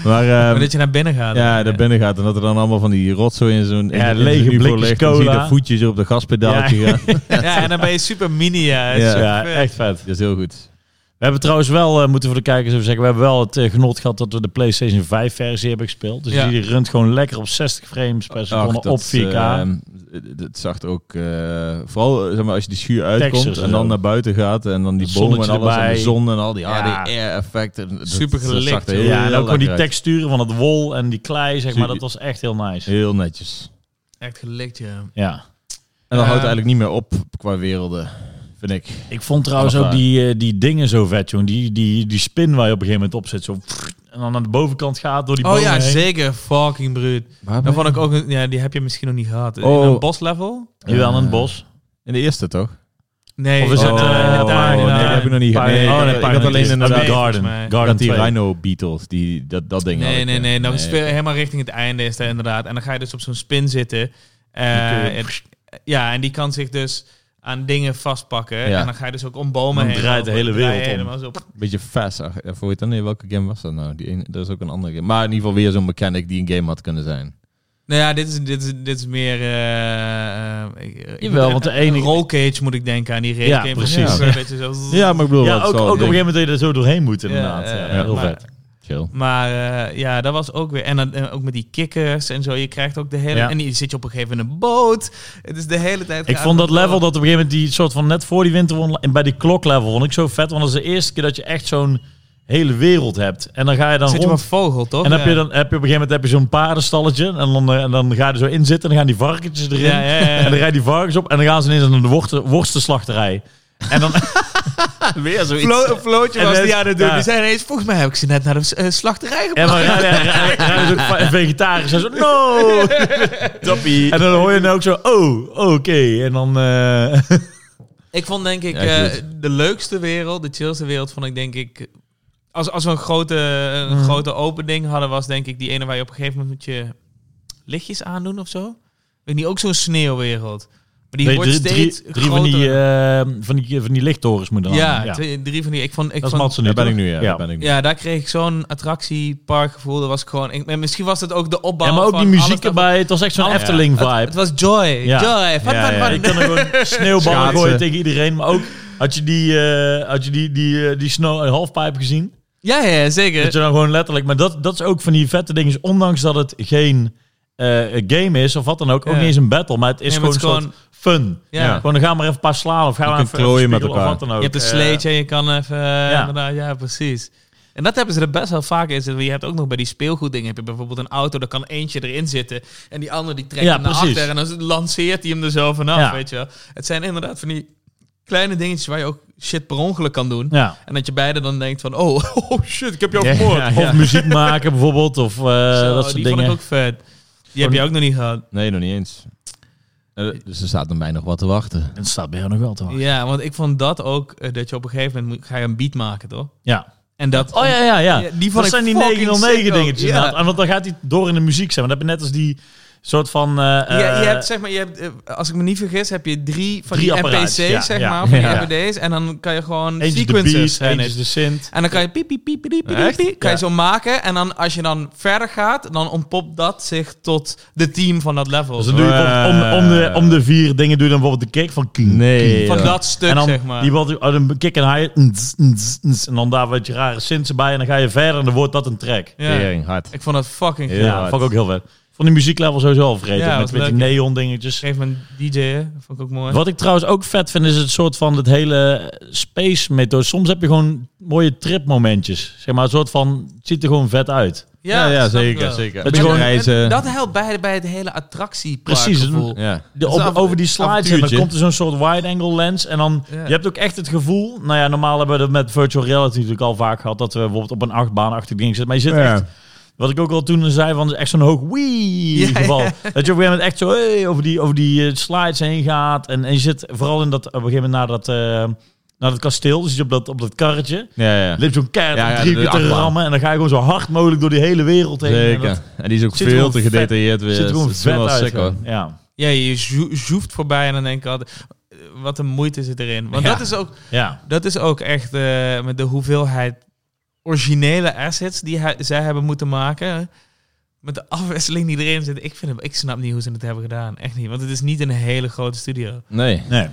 S2: Maar, ehm,
S3: Maar dat je naar binnen gaat.
S2: ja, daar binnen gaat en dat er dan allemaal van die rotzooi in zo'n in-
S1: Ja,
S2: in zo'n
S1: lege
S2: UFO
S1: blikjes
S2: ligt. Dan zie je
S1: cola.
S2: de voetjes op de gaspedaaltje
S1: [LAUGHS]
S2: gaan.
S3: [LAUGHS] Ja, en dan ben je super mini. Ja,
S2: Ja.
S3: Super
S1: Ja,
S3: vet.
S1: echt vet.
S2: Dat is heel goed.
S1: We hebben trouwens wel, eh, moeten voor de kijkers even zeggen, we hebben wel het eh, genot gehad dat we de PlayStation 5 versie hebben gespeeld. Dus
S3: Ja.
S1: die runt gewoon lekker op 60 frames per seconde
S2: Ach, dat,
S1: op 4K.
S2: ehm, het zag er ook, eh, vooral eh, zeg maar, als je die schuur uitkomt
S1: Textures en
S2: en dan
S1: zo.
S2: naar buiten gaat en dan die
S1: Het
S2: bomen en
S1: zonnetje
S2: alles en
S1: erbij.
S2: de zon en al die
S1: Ja.
S2: HDR-effecten. Dat-
S3: Super
S2: dat zag er
S3: gelikt,
S2: heel-
S1: ja, en
S2: heel
S1: ook gewoon die
S2: lekker uit. Dus
S1: texturen van het wol en die klei, zeg maar.
S2: Zie-
S1: Dat was echt heel nice.
S2: Heel netjes.
S3: Echt gelikt, ja.
S1: Ja.
S2: En dan
S3: Ja.
S2: houdt het eigenlijk niet meer op qua werelden, vind ik.
S1: Ik vond trouwens
S2: Echt
S1: ook
S2: waar.
S1: die, eh, die dingen zo vet, jongen. Die, die, die spin waar je op een gegeven moment op zit. Zo, en dan aan de bovenkant gaat door die
S3: Oh
S1: bomen
S3: ja,
S1: heen.
S3: zeker. Fucking bruut.
S2: Nou,
S3: Dan vond ik ook... een- Ja, die heb je misschien nog niet gehad.
S2: Oh.
S3: In een boslevel?
S1: Jawel, in het bos.
S2: In de eerste toch?
S3: Nee.
S1: Of is het,
S3: Oh,
S1: eh,
S3: in het
S1: oh,
S3: tuin,
S1: nee,
S3: in het
S1: dat
S3: tuin.
S1: heb ik
S2: nog niet
S1: Pine-
S2: nee,
S1: oh,
S2: ik-
S1: nee,
S2: ik had
S1: Pine-
S2: alleen
S1: is-
S2: inderdaad-
S1: oh, Garden.
S3: volgens mij.
S1: Garden
S2: dat die
S1: 2.
S2: Rhino Beetles, die, dat, dat ding. had
S3: Nee,
S2: ik,
S3: nee,
S2: ja.
S1: nou
S3: nee. Dan speel je helemaal richting het einde is dat inderdaad. En dan ga je dus op zo'n spin zitten. Eh,
S1: Die kun je-
S3: het- ja, en die kan zich dus... aan dingen vastpakken.
S2: Ja.
S3: En dan ga je dus ook om bomen
S1: Dan
S3: heen.
S1: draait de
S3: lopen,
S1: hele
S3: draai je
S1: wereld om.
S3: helemaal zo.
S2: Beetje fast. ach, ja, Voor weet dan nee, welke game was dat nou? Die ene- dat is ook een andere game. Maar in ieder geval weer zo'n mechanic die een game had kunnen zijn.
S3: Nou ja, dit is, dit is, dit is meer... eh, eh, ik- ik
S1: Jawel,
S3: moet-
S1: want de
S3: eh,
S1: enige-
S3: Roll cage moet ik denken aan die racecage.
S1: Ja, precies.
S3: Vroeger, weet je, zo-
S2: Ja, maar ik bedoel,
S1: Ja, ook, ook op een gegeven moment dat je er zo doorheen moet inderdaad.
S3: Ja,
S1: Ja,
S3: eh,
S1: heel
S3: maar-
S1: vet.
S2: Chill.
S3: Maar eh, ja, dat was ook weer. En, dan- en ook met die kikkers en zo. Je krijgt ook de hele.
S1: Ja.
S3: En je zit je op een gegeven moment in een boot. Het is de hele tijd. Oh,
S1: Ik
S3: gaat
S1: vond
S3: het
S1: dat level
S3: door.
S1: dat op een gegeven moment die soort van net voor die winterwonderland en bij die kloklevel vond ik zo vet, want dat is de eerste keer dat je echt zo'n hele wereld hebt. En dan ga je dan
S3: Zit je op een
S1: rond
S3: vogel, toch?
S1: en dan
S3: Ja.
S1: heb je dan heb je op een gegeven moment heb je zo'n paardenstalletje en dan, eh, en dan ga je er zo in zitten en dan gaan die varkentjes erin
S3: Ja, ja, ja, ja.
S1: en dan rijden die varkens op en dan gaan ze ineens naar de worsten, worstenslachterij. En
S3: [LAUGHS]
S1: dan
S2: Weer zoiets.
S3: Flo- een flootje
S1: En
S3: was
S1: het-
S3: die aan het doen.
S1: ja.
S3: Die zei ineens, volgens mij heb ik ze net naar de eh, slachterij gebracht.
S1: en dan rijden, rijden, rijden ze dus ook va- vegetarisch en zo no.
S2: [LAUGHS] Toppie.
S1: En dan hoor je dan ook zo oh oké en dan eh,
S3: Ik vond denk ik
S2: Ja,
S3: eh,
S2: goed.
S3: de leukste wereld, de chillste wereld, vond ik denk ik... Als, als we een grote, een
S1: Mhm.
S3: grote open ding hadden, was denk ik die ene waar je op een gegeven moment moet je lichtjes aandoen of zo. Weet niet, ook zo'n sneeuwwereld. Maar die
S1: nee,
S3: wordt
S1: drie, drie,
S3: steeds
S1: drie van
S3: groter.
S1: die, eh, van die van die lichttorens moet dan
S3: ja,
S1: ja.
S3: twee- drie van die. Ik vond, ik
S1: Dat is
S3: vond,
S1: Matsen nu.
S2: Daar ben ik
S1: toch?
S2: nu, ja. Daar ben ik nu.
S3: ja, daar kreeg ik zo'n attractieparkgevoel. Dat was ik gewoon. Ik, en misschien was het ook de opbouw.
S1: Ja, maar ook
S3: van
S1: die
S3: alles Oh,
S1: muziek
S3: dat-
S1: erbij. Het was echt zo'n
S3: Alles-
S1: Efteling vibe.
S3: Het, het was joy, joy, fun, fun, fun.
S1: Ik kan er
S3: [LAUGHS]
S1: gewoon sneeuwballen
S2: Schaatsen.
S1: gooien tegen iedereen. Maar ook had je die, eh, had je die, die, eh, die snow eh, halfpipe gezien?
S3: Ja, ja, zeker.
S1: Dat je dan gewoon letterlijk. Maar dat, dat is ook van die vette dingen. Ondanks dat het geen eh, game is of wat dan ook. Ook
S3: Ja.
S1: niet eens een battle. Maar het is
S3: Nee, maar
S1: gewoon
S3: het
S1: een
S3: is
S1: soort fun.
S3: Ja.
S1: Ja. Gewoon dan gaan we maar even een paar slaan. Of gaan
S2: Je
S1: we
S2: kunt
S1: even even
S2: klooien met
S1: spiegelen
S2: elkaar.
S1: Of wat dan ook.
S3: je hebt een
S1: Eh,
S3: sleetje en je kan even.
S1: ja.
S3: Ja. ja, precies. En dat hebben ze er best wel vaak in zitten. Je hebt ook nog bij die speelgoeddingen. Heb je bijvoorbeeld een auto, daar kan eentje erin zitten. En die andere die trekt
S1: Ja,
S3: hem naar
S1: precies.
S3: achter. En dan lanceert hij hem er zo vanaf.
S1: Ja.
S3: Weet je wel. Het zijn inderdaad van die kleine dingetjes waar je ook shit per ongeluk kan doen.
S1: ja.
S3: En dat je beide dan denkt van, oh, [LAUGHS] oh shit, ik heb jou
S2: Ja,
S3: vermoord.
S2: ja,
S1: Of muziek maken bijvoorbeeld. Of eh,
S3: Zo,
S1: dat soort
S3: die vond ik
S1: dingen.
S3: ook vet. Die heb
S1: Gewoon-
S3: je ook nog niet gehad.
S2: Nee, nog niet eens. Eh, Dus er staat dan mij nog wat te wachten.
S1: Het staat bij jou nog wel te wachten.
S3: Ja, want ik vond dat ook, eh, dat je op een gegeven moment moet, ga je een beat maken, toch?
S1: Ja.
S3: En dat...
S1: Oh ja, ja, ja.
S3: Ja, die vond
S1: dat
S3: ik
S1: zijn die
S3: fucking
S1: 909
S3: sick
S1: dingetjes
S3: ook. Ja.
S1: inderdaad. En want dan gaat hij door in de muziek zijn. Maar dat heb je net als die soort van... eh,
S3: Je, je
S1: eh,
S3: hebt, zeg maar, je hebt, eh, als ik me niet vergis, heb je drie van
S1: Drie
S3: die
S1: apparaatjes,
S3: NPC's,
S1: ja,
S3: zeg
S1: ja.
S3: maar, van die
S1: Ja.
S3: RPD's. En dan kan je gewoon
S1: eentje de
S3: sequences.
S1: beat,
S3: zijn
S1: eentje
S3: het.
S1: de synth.
S3: en dan kan je piep, piep, piep, piep, piep, piep,
S2: Echt?
S3: piep, kan je
S1: Ja.
S3: zo maken. En dan als je dan verder gaat, dan ontpopt dat zich tot de team van dat level.
S1: Dus dan doe je bijvoorbeeld om, om, de, om de vier dingen doe je dan bijvoorbeeld de kick van... King,
S2: Nee. eh,
S3: van
S2: joh.
S3: dat stuk,
S1: En dan
S3: zeg maar.
S1: die wat, uit een kick en high. ns, ns, ns, En dan daar wat je rare synths bij. En dan ga je verder en dan wordt dat een track.
S3: Ja.
S2: Tering, hard.
S3: Ik vond dat fucking
S2: Heel
S3: gaaf.
S1: Ja,
S2: hard.
S1: vond ik ook heel vet. Vond die muzieklevel sowieso al vergeten.
S3: Ja,
S1: met
S3: was
S1: met die
S3: leuk.
S1: neon dingetjes.
S3: Geef me een DJ, vond ik ook mooi.
S1: Wat ik trouwens ook vet vind, is het soort van het hele space methode. Soms heb je gewoon mooie tripmomentjes. Zeg maar, een soort van, het ziet er gewoon vet uit.
S2: Ja, ja,
S3: snap ik
S2: zeker,
S3: wel.
S2: zeker.
S1: Dat
S2: Met
S1: je gewoon-
S2: reizen.
S3: Dat helpt bij, bij het hele attractie.
S1: Precies, het-
S2: Ja.
S1: De,
S3: Dat is
S1: op,
S3: een
S1: over die slides en dan
S2: avontuurtje.
S1: komt er zo'n soort wide-angle lens. En dan,
S3: Ja.
S1: je hebt ook echt het gevoel... Nou ja, normaal hebben we dat met virtual reality natuurlijk al vaak gehad... dat we bijvoorbeeld op een achtbaanachtig ding zitten. Maar je zit
S2: Ja.
S1: echt... Wat ik ook al toen zei, van echt zo'n hoog wee
S3: Ja,
S1: geval. Dat je op een gegeven moment echt zo hey, over die, over die eh, slides heen gaat. En, en je zit vooral in dat, op een gegeven moment naar dat, eh, naar dat kasteel. Dus je zit op dat, op dat karretje.
S2: Ja, ja.
S1: Liep zo'n keihard
S2: Ja,
S1: om
S2: ja,
S1: drie
S2: de
S1: keer te
S2: achtbaan.
S1: rammen. En dan ga je gewoon zo hard mogelijk door die hele wereld heen. En
S2: Zeker.
S1: dat
S2: En die is ook
S1: Zit er
S2: veel
S1: gewoon
S2: te
S1: vet-
S2: gedetailleerd weer.
S1: zit er gewoon
S2: Dat is wel
S1: vet uit.
S2: sick, hoor.
S1: gewoon. Ja,
S3: Ja, je zo- zoeft voorbij en dan denk ik altijd... eh, Wat een moeite zit erin. Want
S2: Ja.
S3: dat, is ook,
S1: ja.
S3: dat is ook echt eh, met de hoeveelheid originele assets die hij- zij hebben moeten maken. Met de afwisseling die erin zit. Ik, vind het, ik snap niet hoe ze het hebben gedaan. Echt niet. Want het is niet een hele grote studio.
S2: Nee.
S1: Nee.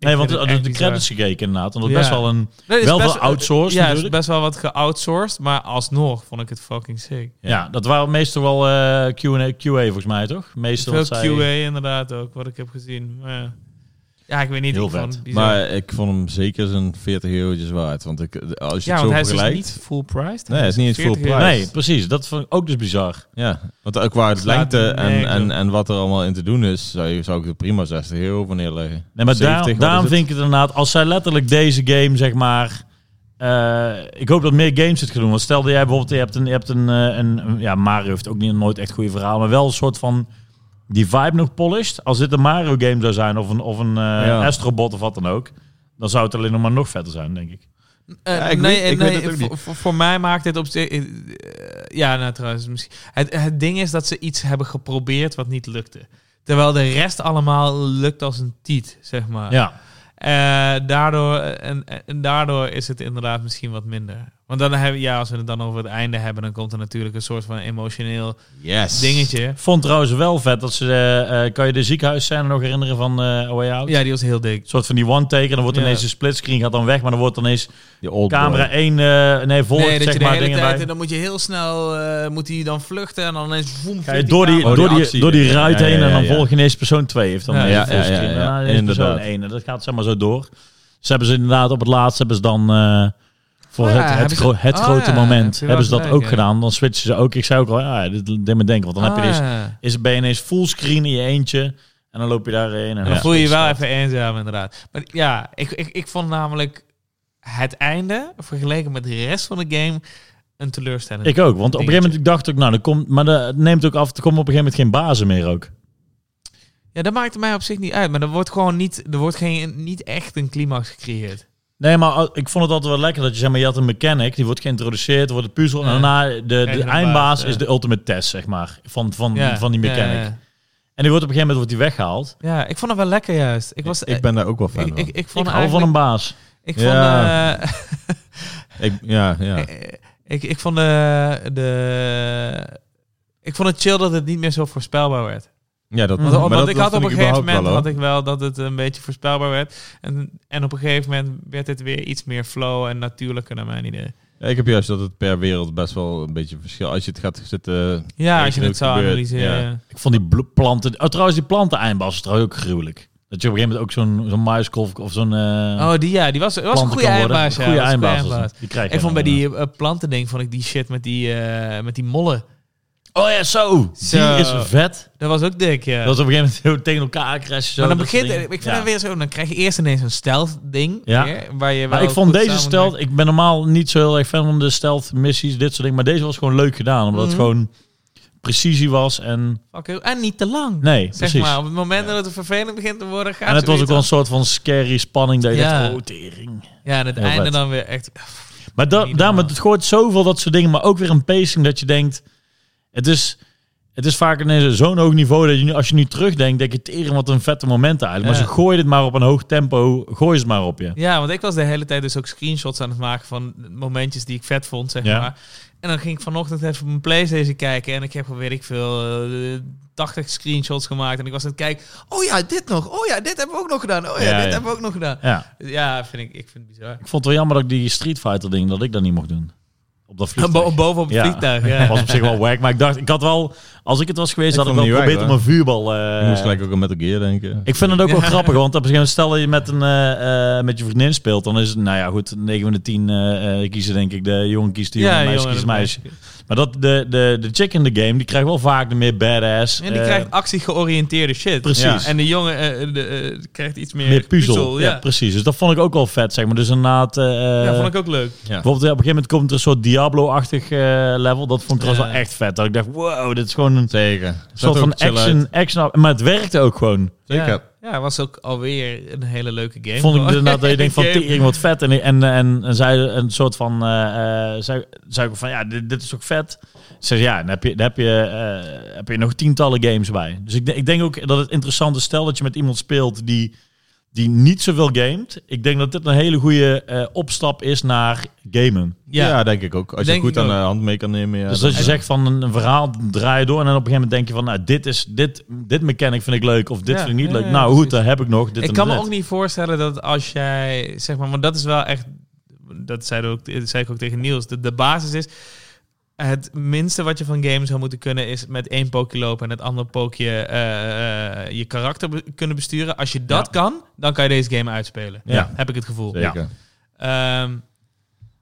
S1: Nee,
S3: vind
S1: want
S3: het
S1: de,
S3: echt
S1: de
S3: bizar.
S1: credits gekeken inderdaad. Want dat is
S3: Ja.
S1: best wel een...
S3: Nee, het is
S1: Wel
S3: best-
S1: veel outsourced
S3: Ja, het is
S1: natuurlijk.
S3: best wel wat geoutsourced. Maar alsnog vond ik het fucking sick.
S1: Ja, dat waren meestal wel eh, Q&A, QA volgens mij, toch? Meestal
S3: Veel
S1: wat zij-
S3: QA inderdaad ook, wat ik heb gezien. Maar ja. ja, ik weet niet.
S1: Heel
S3: ik vond
S1: vet.
S3: bizar.
S2: Maar ik vond hem zeker zijn 40 eurotjes waard. Want ik, als je
S3: ja,
S2: het
S3: want
S2: zo
S3: hij is dus
S2: vergelijkt...
S3: niet full priced.
S2: Nee, hij is niet eens
S3: 40
S2: full
S3: euro.
S2: priced.
S1: Nee, precies. Dat vond ik ook dus bizar.
S2: Ja, want ook qua het
S3: Slaat
S2: lengte en,
S3: nergens
S2: en,
S3: op.
S2: en wat er allemaal in te doen is, zou, je, zou ik er prima 60 euro voor neerleggen.
S1: Nee, maar
S2: 70,
S1: daar,
S2: wat is
S1: daarom
S2: het?
S1: vind ik het inderdaad... Als zij letterlijk deze game, zeg maar... eh, ik hoop dat meer games het gaan doen. Want stel dat jij bijvoorbeeld... Je hebt een... Je hebt een, eh, een een- ja, Mario heeft ook niet, nooit echt goede verhaal. Maar wel een soort van... Die vibe nog polished. Als dit een Mario game zou zijn... Of een, of een eh
S2: Ja.
S1: Astrobot of wat dan ook... Dan zou het alleen nog maar nog vetter zijn, denk ik.
S3: Eh,
S2: Ja, ik
S3: nee,
S2: weet- ik
S3: nee,
S2: weet het ook
S3: voor- Voor, voor mij maakt dit op zich... eh, ja, nou trouwens, misschien... Het, het ding is dat ze iets hebben geprobeerd wat niet lukte. Terwijl de rest allemaal lukt als een tiet, zeg maar.
S1: Ja.
S3: Eh, daardoor, en, en daardoor is het inderdaad misschien wat minder. Want dan hebben, ja, als we het dan over het einde hebben, dan komt er natuurlijk een soort van emotioneel
S2: Yes.
S3: dingetje.
S1: Vond trouwens wel vet dat ze... eh, eh, kan je de ziekenhuisscène nog herinneren van eh Away Out?
S3: Ja, die was heel dik.
S1: Een soort van die one-taker. Dan wordt
S3: Ja.
S1: ineens de splitscreen gaat dan weg. Maar dan wordt ineens
S2: Die old
S1: camera
S2: Oh, boy.
S1: 1... eh nee, volgt
S3: nee, dat
S1: zeg
S3: je de
S1: maar
S3: hele
S1: dingen
S3: tijd,
S1: bij.
S3: en dan moet je heel snel, eh, moet hij dan vluchten en dan ineens voem,
S1: Ga je
S3: vliegt
S1: door die,
S3: camera.
S2: Oh,
S1: door,
S2: die
S1: die,
S2: actie.
S1: door die
S2: Ja,
S1: ruit
S2: ja,
S1: heen
S2: ja,
S1: en dan
S2: ja.
S1: volg je ineens persoon 2. Heeft dan
S3: Ja,
S1: ineens
S2: ja,
S1: de Nou, fullscreen.
S2: ja, ja, ja.
S1: Daarna ineens persoon
S2: Inderdaad.
S1: 1. En dat gaat zeg maar zo door. Ze hebben ze inderdaad op het laatst hebben ze dan... eh, voor
S3: Oh ja,
S1: het, het,
S3: hebben ze-
S1: gro- het
S3: oh
S1: grote
S3: ja, heb
S1: moment
S3: je wel
S1: hebben ze dat
S3: gelijk,
S1: ook
S3: ja.
S1: gedaan. Dan switchen ze ook. Ik zei ook al, ja, dit dit me denken. Want dan heb je
S3: Ah,
S1: dus
S3: ja.
S1: is ben je ineens fullscreen in je eentje. En dan loop je daarheen. En
S3: Dan voel je je wel even eenzaam, inderdaad. Maar ja, ik, ik, ik vond namelijk het einde, vergeleken met de rest van de game, een teleurstelling.
S1: Ik ook, want op een gegeven moment ik dacht ik, nou, dan komt, maar dat neemt ook af, er komen op een gegeven moment geen bazen meer ook.
S3: Ja, dat maakt mij op zich niet uit, maar er wordt gewoon niet, er wordt geen, niet echt een climax gecreëerd.
S1: Nee, maar al- ik vond het altijd wel lekker dat je zeg maar, je had een mechanic, die wordt geïntroduceerd, wordt een puzzel,
S3: Ja.
S1: en daarna de,
S3: Krijg
S1: de
S3: je een
S1: eindbaas
S3: baas,
S1: is
S3: ja.
S1: de ultimate test, zeg maar, van, van,
S3: Ja,
S1: Mm, van die mechanic.
S3: Ja, ja.
S1: En die wordt op een gegeven moment wordt die weggehaald.
S3: Ja, ik vond het wel lekker juist. Ik, was,
S2: Ik ben daar ook wel fan
S3: ik, ik,
S2: van.
S3: ik
S1: Ik
S3: vond
S1: hou van een
S3: eigenlijk-
S1: baas.
S3: Ik vond,
S2: Ja.
S3: [LAUGHS] eh,
S2: Ik- ja, ja.
S3: Eh, Ik, ik vond de, de... Ik vond het chill dat het niet meer zo voorspelbaar werd.
S2: Ja, dat,
S3: Want,
S2: maar
S3: want
S2: dat,
S3: ik
S2: dat
S3: had op
S2: vond
S3: een gegeven
S2: überhaupt
S3: moment
S2: wel, hoor.
S3: had ik wel dat het een beetje voorspelbaar werd. En, en op een gegeven moment werd het weer iets meer flow en natuurlijker naar mijn idee.
S2: Ja, ik heb juist dat het per wereld best wel een beetje verschil. Als je het gaat zitten...
S3: Ja, als
S2: is
S3: je
S2: ook
S3: het zou
S2: gebeurd,
S3: analyseren. Ja.
S1: Ik vond die blo- planten, oh, trouwens die planten eindbaas is trouwens ook gruwelijk. Dat je op een gegeven moment ook zo'n zo'n muiskolf of zo'n eh
S3: Oh, die ja, die was, was een
S1: planten
S3: goede
S1: kan worden.
S3: eindbaas. Ja,
S1: Goede
S3: was een goede
S1: eindbaas. was
S3: eindbaas.
S1: het. Die krijg je
S3: Ik vond bij
S1: dan,
S3: die planten plantending vond ik die shit met die, eh, met die mollen.
S1: eh. Oh ja, zo.
S3: Zo.
S1: Die is vet.
S3: Dat was ook dik, ja.
S1: Dat is op een gegeven moment tegen elkaar crashen. Zo,
S3: maar dan
S1: dat soort
S3: begint, ik
S1: dingen.
S3: vind
S1: Ja.
S3: het weer zo, dan krijg je eerst ineens een stealth ding.
S1: Ja.
S3: weer, waar je
S1: Maar
S3: wel
S1: ik vond
S3: goed
S1: deze
S3: samen-
S1: stealth... Ik ben normaal niet zo heel erg fan van de stealth missies, dit soort dingen. Maar deze was gewoon leuk gedaan. Omdat het
S3: Mhm.
S1: gewoon precisie was en...
S3: Fuck you. En niet te lang.
S1: Nee,
S3: Zeg
S1: precies.
S3: maar, op het moment dat het vervelend begint te worden, gaat
S1: en het
S3: ze
S1: was
S3: weer
S1: ook wel een
S3: terug.
S1: soort van scary spanning. Dat je
S3: Ja.
S1: dacht, oh, tering.
S3: Ja, en het
S1: heel
S3: einde
S1: vet.
S3: dan weer echt...
S1: Maar da
S3: Niet
S1: daarom,
S3: normaal.
S1: het gooit zoveel dat soort dingen. Maar ook weer een pacing dat je denkt... Het is, het is vaak ineens zo'n hoog niveau dat je nu, als je nu terugdenkt, denk je tering wat een vette momenten eigenlijk.
S3: Ja.
S1: Maar ze gooien het maar op een hoog tempo, gooien ze het maar op je.
S3: Ja, want ik was de hele tijd dus ook screenshots aan het maken van momentjes die ik vet vond, zeg
S1: Ja.
S3: maar. En dan ging ik vanochtend even op mijn Playstation kijken en ik heb al, weet ik veel, eh, 80 screenshots gemaakt. En ik was aan het kijken, oh ja, dit nog. Oh ja, dit hebben we ook nog gedaan. Oh ja,
S1: Ja,
S3: dit
S1: ja.
S3: hebben we ook nog gedaan.
S1: Ja.
S3: Ja, vind ik, ik vind het bizar.
S1: Ik vond het wel jammer dat ik die Street Fighter ding, dat ik dat niet mocht doen. Op dat vliegtuig.
S3: Bo- boven op het
S1: Ja.
S3: vliegtuig,
S1: [LAUGHS]
S3: ja.
S1: Dat was op zich wel wack, maar ik dacht, ik had wel, als ik het was geweest,
S2: Ik
S1: had ik
S2: vond
S1: wel
S2: het niet
S1: geprobeerd
S2: wack,
S1: om een vuurbal. eh,
S2: Ik moest gelijk ook aan Metal Gear denken.
S1: ik vind het ook wel
S3: Ja.
S1: grappig, want op een gegeven moment, stel dat je met, een, eh, eh, met je vriendin speelt, dan is het, nou ja, goed, 9 van de 10 eh, eh, kiezen denk ik, de jongen kiest de jongen,
S3: ja,
S1: meisje
S3: jongen,
S1: kiest
S3: dat
S1: de meisje. Maar dat, de, de, de chick in de game, die krijgt wel vaak de meer badass.
S3: En die
S1: eh,
S3: krijgt actie-georiënteerde shit.
S1: Precies.
S3: Ja. En de jongen eh, de, eh, krijgt iets meer,
S1: meer puzzel. ja.
S3: ja.
S1: precies. Dus dat vond ik ook wel vet, zeg maar. Dus inderdaad... eh,
S3: Ja, vond ik ook leuk.
S1: Bijvoorbeeld ja, op een gegeven moment komt er een soort Diablo-achtig eh, level. Dat vond ik trouwens
S3: Ja.
S1: wel echt vet. Dat ik dacht, wow, dit is gewoon een
S2: Zeker. Zag
S1: soort
S2: er ook
S1: van
S2: chill uit.
S1: action, action. Maar het werkte ook gewoon.
S2: Zeker.
S3: Ja, ja, was ook alweer een hele leuke game.
S1: Vond ik inderdaad
S3: [LAUGHS]
S1: dat je
S3: Een
S1: denkt van,
S3: game.
S1: tering wat vet. En, en, en, en zei een soort van, eh, eh, zei, zei ik van, ja, dit, dit is ook vet. Ze zei, ja, dan heb je, dan heb, je, eh, heb je nog tientallen games bij. Dus ik, denk- ik denk ook dat het interessant is, stel dat je met iemand speelt die, die niet zoveel gamet. Ik denk dat dit een hele goede eh, opstap is naar gamen.
S2: Ja.
S3: Ja.
S2: denk ik ook. Als je
S3: Denk
S2: goed
S3: ik
S2: aan de
S3: ook.
S2: hand mee kan nemen. Ja,
S1: Dus
S2: dan-
S1: als je zegt van een, een verhaal draai je door en dan op een gegeven moment denk je van nou dit is dit dit mechanic vind ik leuk of dit
S3: Ja,
S1: vind ik niet
S3: ja,
S1: leuk.
S3: ja,
S1: nou
S3: precies.
S1: goed, daar heb ik nog dit
S3: Ik
S1: en
S3: kan me
S1: dit.
S3: ook niet voorstellen dat als jij, zeg maar, want dat is wel echt, dat zei, ook, dat zei ik ook tegen Niels, de, de basis is, het minste wat je van games zou moeten kunnen is met één pookje lopen en het andere pookje eh, eh, je karakter be- kunnen besturen. Als je dat kan, dan kan je deze game uitspelen.
S1: Ja.
S3: Heb ik het gevoel.
S2: Zeker.
S3: Ehm,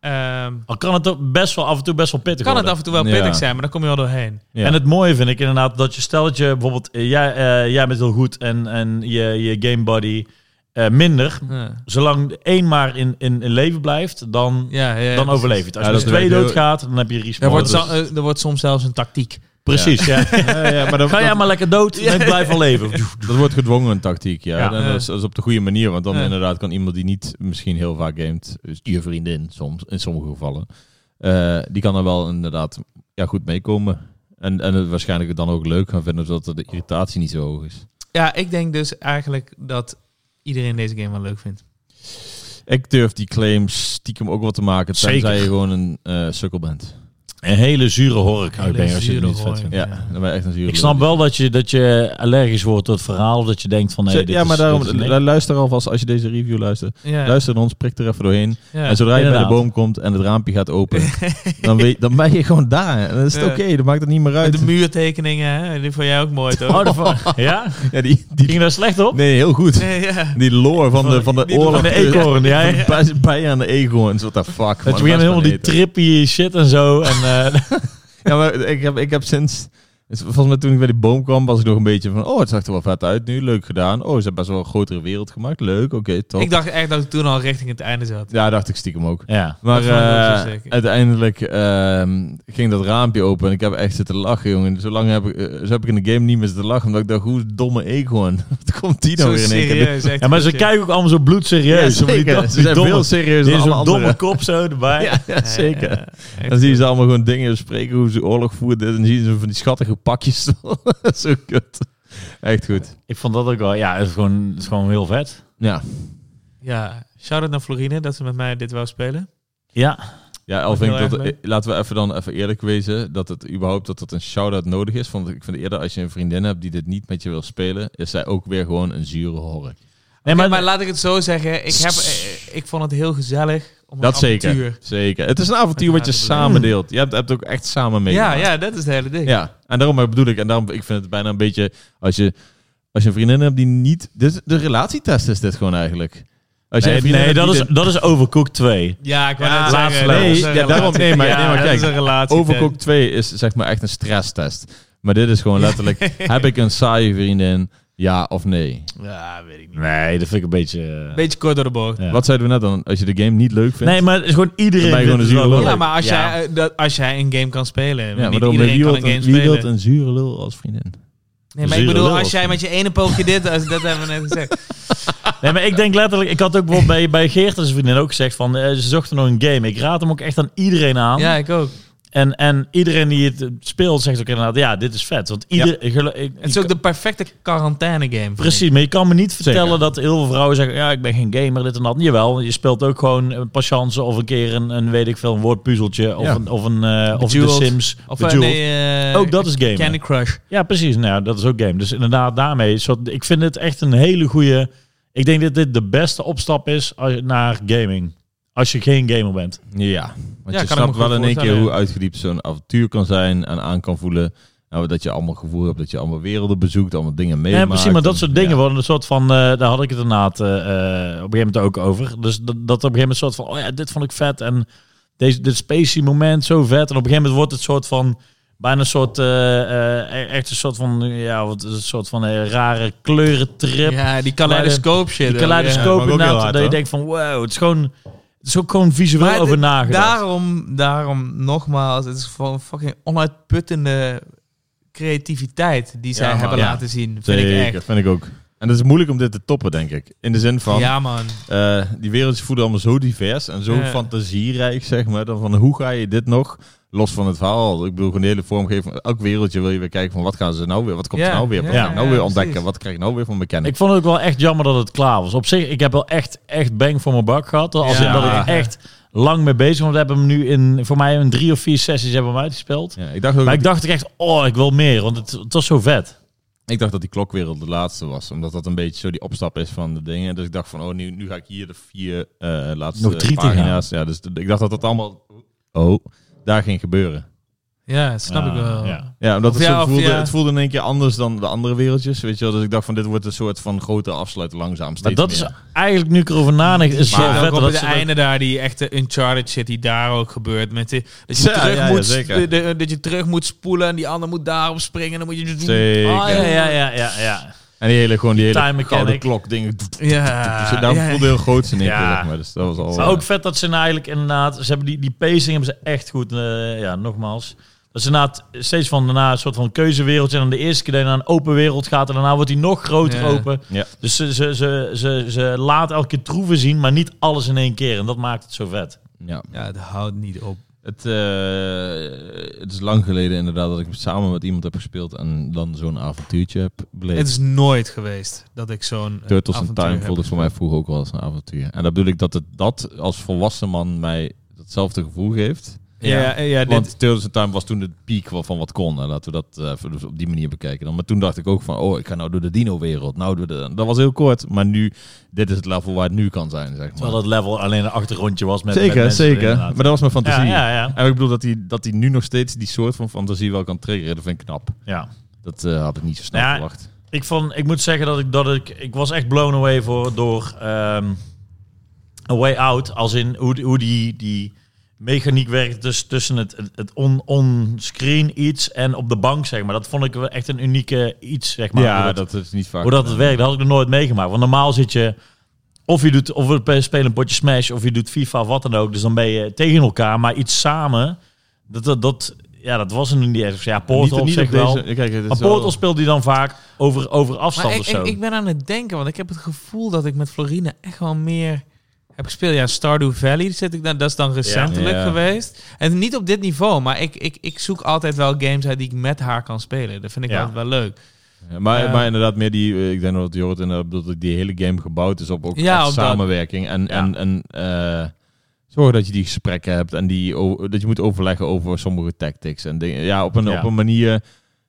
S3: ehm,
S1: Al kan het ook best wel af en toe best wel pittig
S3: kan het
S1: worden.
S3: af en toe wel
S2: Ja.
S3: pittig zijn, maar dan kom je wel doorheen.
S2: Ja.
S1: En het mooie vind ik inderdaad dat je stel dat je bijvoorbeeld eh, jij, eh, jij bent heel goed en, en je, je game buddy eh, minder.
S3: Ja.
S1: Zolang één maar in, in, in leven blijft, dan,
S3: Ja, ja, ja,
S1: dan
S3: precies.
S1: overleef je het. Als
S2: Ja,
S1: je
S2: dat
S1: met twee
S2: werkt heel-
S1: doodgaat, dan heb je respawn.
S3: Er wordt,
S1: Dus-
S3: zo- eh, er wordt soms zelfs een tactiek.
S1: Precies, ja.
S2: [LAUGHS] Ja, ja, maar dat,
S1: Ga jij maar lekker dood en ik blijf wel leven.
S2: dat- dat wordt gedwongen een tactiek. Ja.
S1: Ja.
S2: En dat, is, dat is op de goede manier. Want dan
S3: Ja.
S2: inderdaad kan iemand die niet misschien heel vaak gamet, dus je vriendin soms, in sommige gevallen, eh, die kan er wel inderdaad ja, goed meekomen. En, en het waarschijnlijk dan ook leuk gaan vinden, zodat de irritatie niet zo hoog is.
S3: Ja, ik denk dus eigenlijk dat iedereen deze game wel leuk vindt.
S2: Ik durf die claims stiekem ook wel te maken, tenzij
S1: Zeker.
S2: je gewoon een eh sukkel bent.
S1: Een hele zure hork uit
S3: Hele
S1: ben je als je het
S3: zure
S1: niet vet
S3: hork.
S1: vindt.
S2: Ja,
S3: Ja.
S2: dan ben je echt een zure
S1: Ik snap
S2: lul.
S1: wel dat je, dat je allergisch wordt door het verhaal. Dat je denkt van nee, dit
S2: ja, maar
S1: is,
S2: daarom,
S1: dit is niks.
S2: lu- luister alvast als je deze review luistert.
S3: Ja,
S2: Luister naar ons, prik er even doorheen.
S3: ja.
S2: en zodra je bij
S1: inderdaad.
S2: de boom komt en het raampje gaat
S1: [LAUGHS]
S2: open, dan, weet, dan ben je gewoon daar. En dan is het
S3: Ja.
S2: oké, dan maakt het niet meer
S3: Met
S2: uit.
S3: de muurtekeningen, hè? die vond jij ook
S2: [LAUGHS]
S3: mooi toch?
S1: Oh, dat va- ja?
S2: Ja, die, die,
S1: Ging daar slecht op?
S2: nee, heel goed.
S3: Nee, ja.
S2: Die lore van de, van de
S3: Die lore
S2: oorlog.
S1: Van de eekhoorn, [LAUGHS] ja. ja.
S2: Bij- Bij aan de eekhoorns, what the fuck.
S1: Dat je
S2: man.
S1: begint helemaal die
S2: eten.
S1: trippy shit en zo. En, eh, [LAUGHS]
S2: Ja, maar ik heb, ik heb sinds... dus Volgens mij toen ik bij die boom kwam, was ik nog een beetje van... Oh, het zag er wel vet uit nu, leuk gedaan. Oh, ze hebben best wel een grotere wereld gemaakt. Leuk, oké, top.
S3: Ik dacht echt dat ik toen al richting het einde zat.
S2: Ja, dacht ik stiekem ook.
S1: ja.
S2: Maar
S3: Dat vond ik wel zo
S2: eh,
S3: sick.
S2: uiteindelijk ehm, ging dat raampje open en ik heb echt zitten lachen, jongen. Zo lang heb ik, eh, zo heb ik in de game niet meer zitten lachen, omdat ik dacht, hoe domme eekhoorn. [LAUGHS] Wat komt die nou
S3: Zo
S2: weer in één keer?
S3: serieus. echt
S1: ja, maar ze
S3: shit.
S1: kijken ook allemaal zo
S2: Ja,
S1: bloedserieus. Zo van die-
S2: zeker.
S1: die
S2: Ze zijn
S1: domme-
S2: veel serieus
S1: die is
S2: dan alle
S1: zo'n domme
S2: anderen.
S1: kop zo erbij.
S2: [LAUGHS] Ja, ja,
S3: Ja,
S2: zeker.
S3: ja, echt.
S2: Dan zien ze allemaal gewoon dingen bespreken, hoe ze oorlog voeren. dit En dan zien ze van die schattige pakjes. [LAUGHS] Zo kut. Echt goed.
S1: Ik vond dat ook wel... Ja, het is gewoon, het is gewoon heel vet.
S2: Ja,
S3: Ja, shout-out naar Florine dat ze met mij dit wou spelen.
S1: Ja,
S2: ja
S3: Mag
S2: al
S3: ik
S2: vind
S3: heel
S2: ik
S3: erg
S2: dat,
S3: mee?
S2: eh, laten we even dan even eerlijk wezen, dat het überhaupt dat dat een shout-out nodig is. Want ik vind eerder als je een vriendin hebt die dit niet met je wil spelen, is zij ook weer gewoon een zure horror.
S1: nee,
S3: maar,
S1: maar,
S3: maar laat ik het zo zeggen. Ik, heb, eh, ik vond het heel gezellig. Om een
S2: Dat zeker.
S3: avontuur.
S2: Zeker. Het is een avontuur wat je
S3: Uiteraard te
S2: samen deelt. Je hebt, hebt ook echt samen mee.
S3: Ja, ja, dat is het hele ding.
S2: Ja, en daarom bedoel ik, en daarom ik vind het bijna een beetje als je als je een vriendin hebt die niet dit, de relatietest is dit gewoon eigenlijk. Als jij
S1: nee,
S2: een vriendin
S1: nee,
S2: hebt
S1: dat,
S2: die
S1: is,
S2: dit-
S1: dat is Overcooked 2.
S3: Ja, ik wou
S2: Ja,
S3: net
S1: laatste
S3: zeggen.
S1: level.
S3: dat is
S2: Nee,
S3: een
S2: ja, daarom-
S3: relatie-
S2: nee, maar-
S3: ja,
S2: nee, maar
S3: dat
S2: kijk,
S3: is een relatie.
S2: Overcooked 2 is zeg maar echt een stresstest. Maar dit is gewoon letterlijk heb ik een saaie vriendin ja of nee.
S3: Ja, weet ik niet.
S1: Nee, dat vind ik een beetje...
S3: Beetje kort door de bocht.
S1: Ja.
S2: Wat zeiden we net dan als je de game niet leuk vindt?
S1: nee, maar het is gewoon iedereen...
S2: Dan ben je gewoon
S1: vindt
S2: een
S1: het wel
S2: zure
S3: Ja,
S1: leuk.
S3: maar als,
S1: Ja.
S3: Jij, eh, dat, als jij een game kan spelen.
S2: ja,
S3: niet
S2: maar daarom,
S3: iedereen
S2: wie
S3: kan
S2: wil
S3: een game
S2: een, wie wilt
S3: spelen.
S2: een zure lul als vriendin?
S3: Nee, maar ik
S1: zure
S3: bedoel,
S1: lul
S3: als jij
S1: of-
S3: met je ene pootje dit... als- Dat hebben we net gezegd.
S2: [LAUGHS]
S1: Nee, maar ik denk letterlijk... Ik had ook bijvoorbeeld bij, bij Geert en zijn vriendin ook gezegd van... eh, ze zochten nog een game. Ik raad hem ook echt aan iedereen aan.
S3: Ja, ik ook.
S1: En, en iedereen die het eh, speelt zegt ook inderdaad... Ja, dit is vet. Want ieder... gelu- ik-
S3: Het is ook de perfecte quarantaine game. vind ik.
S1: Precies, maar je kan me niet vertellen
S2: Zeker.
S1: dat heel veel vrouwen zeggen... ja, ik ben geen gamer, dit en dat. Jawel, je speelt ook gewoon een patience of een keer een, een weet ik veel, een woordpuzzeltje... of,
S2: Ja.
S1: een, of, een, eh, of de
S3: Bejeweled.
S1: Sims,
S3: Of eh,
S1: Bejeweled.
S3: nee, eh,
S1: Ook dat is gamen.
S3: Candy Crush.
S1: Ja, precies. Nou, ja, dat is ook game. Dus inderdaad, daarmee... een soort- ik vind het echt een hele goede... Ik denk dat dit de beste opstap is als- naar gaming. Als je geen gamer bent.
S2: Ja, want
S3: Ja,
S2: je
S3: kan ik me
S2: snapt
S3: goed
S2: wel in één keer
S3: voorstellen,
S2: hoe uitgediept zo'n avontuur kan zijn en aan kan voelen. Nou, dat je allemaal gevoel hebt, dat je allemaal werelden bezoekt, allemaal dingen meemaakt.
S1: Ja, precies, maar dat
S2: En-
S1: soort dingen
S2: ja.
S1: worden een soort van... eh, daar had ik het inderdaad eh, eh, op een gegeven moment ook over. Dus dat, dat op een gegeven moment soort van... Oh ja, dit vond ik vet. En deze, dit spacey moment zo vet. En op een gegeven moment wordt het soort van... Bijna een soort... eh, eh, e- echt een soort van... Ja, wat is het? Een soort van eh, rare kleurentrip.
S3: Ja, die
S2: eh,
S3: kaleidoscoop shit.
S1: Die
S3: ook, ja.
S1: kaleidoscoop
S2: Ja, maar ook heel
S1: inderdaad.
S2: hard,
S1: dat je
S2: hoor.
S1: denkt van... Wow, het is gewoon... Het is ook gewoon visueel
S3: Maar
S1: over
S3: d-
S1: nagedacht.
S3: Daarom, daarom nogmaals, het is gewoon fucking onuitputtende creativiteit die zij
S2: man.
S3: hebben
S2: Ja.
S3: laten zien. Vind
S2: Zeker,
S3: ik echt.
S2: vind ik ook. En het is moeilijk om dit te toppen, denk ik. In de zin van,
S3: Ja, man.
S2: eh, die wereldjes voelen allemaal zo divers en zo
S3: Ja.
S2: fantasierijk, zeg maar. Dan van, hoe ga je dit nog, los van het verhaal, ik bedoel, gewoon de hele vormgeving. Elk wereldje wil je weer kijken van, wat gaan ze nou weer, wat komt
S3: Ja,
S2: er nou weer, wat
S3: ja,
S2: ga ik nou
S3: ja,
S2: weer
S3: precies.
S2: ontdekken, wat krijg ik nou weer van mechanic.
S1: Ik vond het ook wel echt jammer dat het klaar was. Op zich, ik heb wel echt, echt bang voor mijn bak gehad. Als
S3: Ja.
S1: in dat ik echt lang mee bezig was. We hebben hem nu in, voor mij in drie of vier sessies hebben we hem uitgespeeld.
S2: ja, ik dacht ook
S1: Maar
S2: dat
S1: ik dacht echt, oh, ik wil meer. Want het, het was zo vet.
S2: Ik dacht dat die klokwereld de laatste was, omdat dat een beetje zo die opstap is van de dingen. Dus ik dacht van, oh, nu, nu ga ik hier de vier eh, laatste
S1: Nog drie te
S2: pagina's. Ja, dus d- ik dacht dat dat allemaal, oh, daar ging gebeuren.
S3: Ja, snap
S1: Ja,
S3: ik wel.
S1: ja.
S2: Ja, omdat
S3: Of
S2: het,
S3: ja,
S2: zo
S3: of
S2: voelde,
S3: ja.
S2: het voelde in één keer anders dan de andere wereldjes, weet je wel. Dus ik dacht van, dit wordt een soort van grote afsluit langzaam
S1: Maar
S2: steeds
S1: dat is
S2: meer.
S1: eigenlijk, nu ik erover nadenk, is
S3: Maar
S1: zo vet.
S3: ook op
S1: Dat
S3: het
S1: ze dat-
S3: einde daar, die echte Uncharted shit die daar ook gebeurt. Met die, dat, je
S2: Ja,
S3: terug
S2: ja, ja,
S3: moet,
S2: zeker.
S3: de- dat je terug moet spoelen en die ander moet daarop springen. Dan moet je... dus Ah,
S2: Zeker.
S1: Oh, ja, ja, ja, ja, ja.
S2: En die hele, gewoon die
S1: Time
S2: hele
S1: mechanic.
S2: koude klok dingen.
S3: Ah, Ja.
S2: Dus daarom
S3: ja,
S2: voelde heel groot in één keer,
S1: Ja.
S2: zeg maar. Dus dat was al...
S1: Maar
S2: eh,
S1: ook vet dat ze nou eigenlijk inderdaad... Ze hebben die, die pacing hebben ze echt goed. eh, ja, nogmaals. Dat ze inderdaad steeds van daarna een soort van keuzewereldje... en dan de eerste keer dat je naar een open wereld gaat... en daarna wordt die nog groter
S3: Ja.
S1: open.
S2: Ja.
S1: Dus ze, ze, ze, ze, ze laat elke keer troeven zien... maar niet alles in één keer. En dat maakt het zo vet.
S2: ja.
S3: Ja, het houdt niet op.
S2: Het, eh, het is lang geleden inderdaad dat ik samen met iemand heb gespeeld en dan zo'n avontuurtje heb beleefd.
S3: Het is nooit geweest dat ik zo'n. eh,
S2: Turtles in
S3: avontuur
S2: Time
S3: heb.
S2: voelde voor mij vroeger ook wel eens een avontuur. En dat bedoel ik dat het dat als volwassen man mij hetzelfde gevoel geeft.
S3: Ja, ja, ja, dit-
S2: Want Turtles in Time was toen het piek wel van wat kon. En laten we dat eh, even dus op die manier bekijken. Dan. Maar toen dacht ik ook van, oh, ik ga nou door de dino-wereld. Nou, door de... dat was heel kort. Maar nu, dit is het level waar het nu kan zijn, zeg maar.
S1: Terwijl dat level alleen een achtergrondje was met met
S2: zeker,
S1: mensen
S2: zeker.
S1: inderdaad.
S2: Maar dat was mijn
S1: Ja,
S2: fantasie.
S1: ja, ja.
S2: En ik bedoel dat hij dat die nu nog steeds die soort van fantasie wel kan triggeren. Dat vind ik knap.
S1: ja.
S2: Dat eh, had ik niet zo snel
S1: Nou ja,
S2: verwacht.
S1: Ik, vond, ik moet zeggen dat ik, dat ik... Ik was echt blown away voor, door ehm, A Way Out. Als in hoe, hoe die, die mechaniek werkt dus tussen het, het on- on-screen iets en op de bank, zeg maar. Dat vond ik wel echt een unieke iets, zeg maar. Hoe
S2: ja,
S1: dat-
S2: dat, is niet vaak.
S1: hoe dat het werkt, dat had ik nog nooit meegemaakt. Want normaal zit je... Of je doet, of we spelen een potje Smash, of je doet FIFA, of wat dan ook. Dus dan ben je tegen elkaar, maar iets samen. Dat, dat, dat, ja, dat was er nu niet echt. Ja, Portal op
S2: niet, niet
S1: zich
S2: op
S1: wel.
S2: deze- Kijk, het is
S1: Maar
S2: wel-
S1: Portal speelt die dan vaak over, over afstand
S3: Maar ik,
S1: of zo.
S3: ik, ik ben aan het denken, want ik heb het gevoel dat ik met Florine echt wel meer heb gespeeld. Ja, Stardew Valley zit ik dan, dat is dan recentelijk
S2: Ja.
S3: geweest. En niet op dit niveau, maar ik, ik, ik zoek altijd wel games uit die ik met haar kan spelen. Dat vind ik
S1: Ja.
S3: altijd wel leuk.
S2: Ja, maar,
S3: Eh,
S2: maar inderdaad, meer die, eh, ik denk dat Jorrit inderdaad bedoelt dat die hele game gebouwd is op ook
S3: Ja,
S2: echt
S3: op dat.
S2: samenwerking. En, en, en eh, zorgen dat je die gesprekken hebt en die, o- dat je moet overleggen over sommige tactics en dingen. Ja, op een,
S1: Ja.
S2: op een manier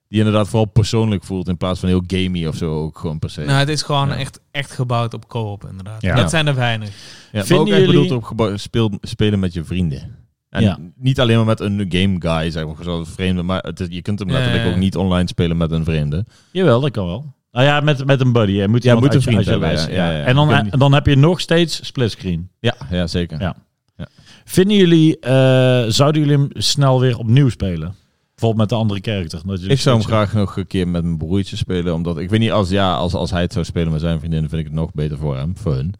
S2: die inderdaad vooral persoonlijk voelt in plaats van heel gamey of zo ook gewoon per se.
S3: Nou, het is gewoon
S2: Ja.
S3: echt, echt gebouwd op co-op inderdaad.
S1: Ja.
S3: Dat zijn er weinig.
S2: ja, maar
S1: vinden
S2: ook echt
S1: jullie-
S2: bedoeld op gebouw- speel, spelen met je vrienden. En
S1: Ja.
S2: niet alleen maar met een game guy, zeg maar, zo'n vreemde, maar het is- je kunt hem
S3: Ja,
S2: letterlijk
S3: ja.
S2: ook niet online spelen met een vreemde.
S1: Jawel, dat kan wel. Nou ja, met, met een buddy. Hè. Moet
S2: Ja,
S1: iemand
S2: moet
S1: uit
S2: een
S1: je-
S2: vriend
S1: uit je
S2: hebben,
S1: lijst,
S2: ja, ja, ja.
S1: En dan,
S2: Ik weet niet.
S1: en dan heb je nog steeds splitscreen.
S2: Ja, ja zeker.
S1: Ja. Vinden jullie, eh, zouden jullie hem snel weer opnieuw spelen? Bijvoorbeeld met de andere character. dat jullie
S2: Ik zou hem
S1: split
S2: graag nog een keer met mijn broertje spelen. Omdat ik weet niet, als, ja, als, als hij het zou spelen met zijn vriendin, vind ik het nog beter voor hem. Voor hun.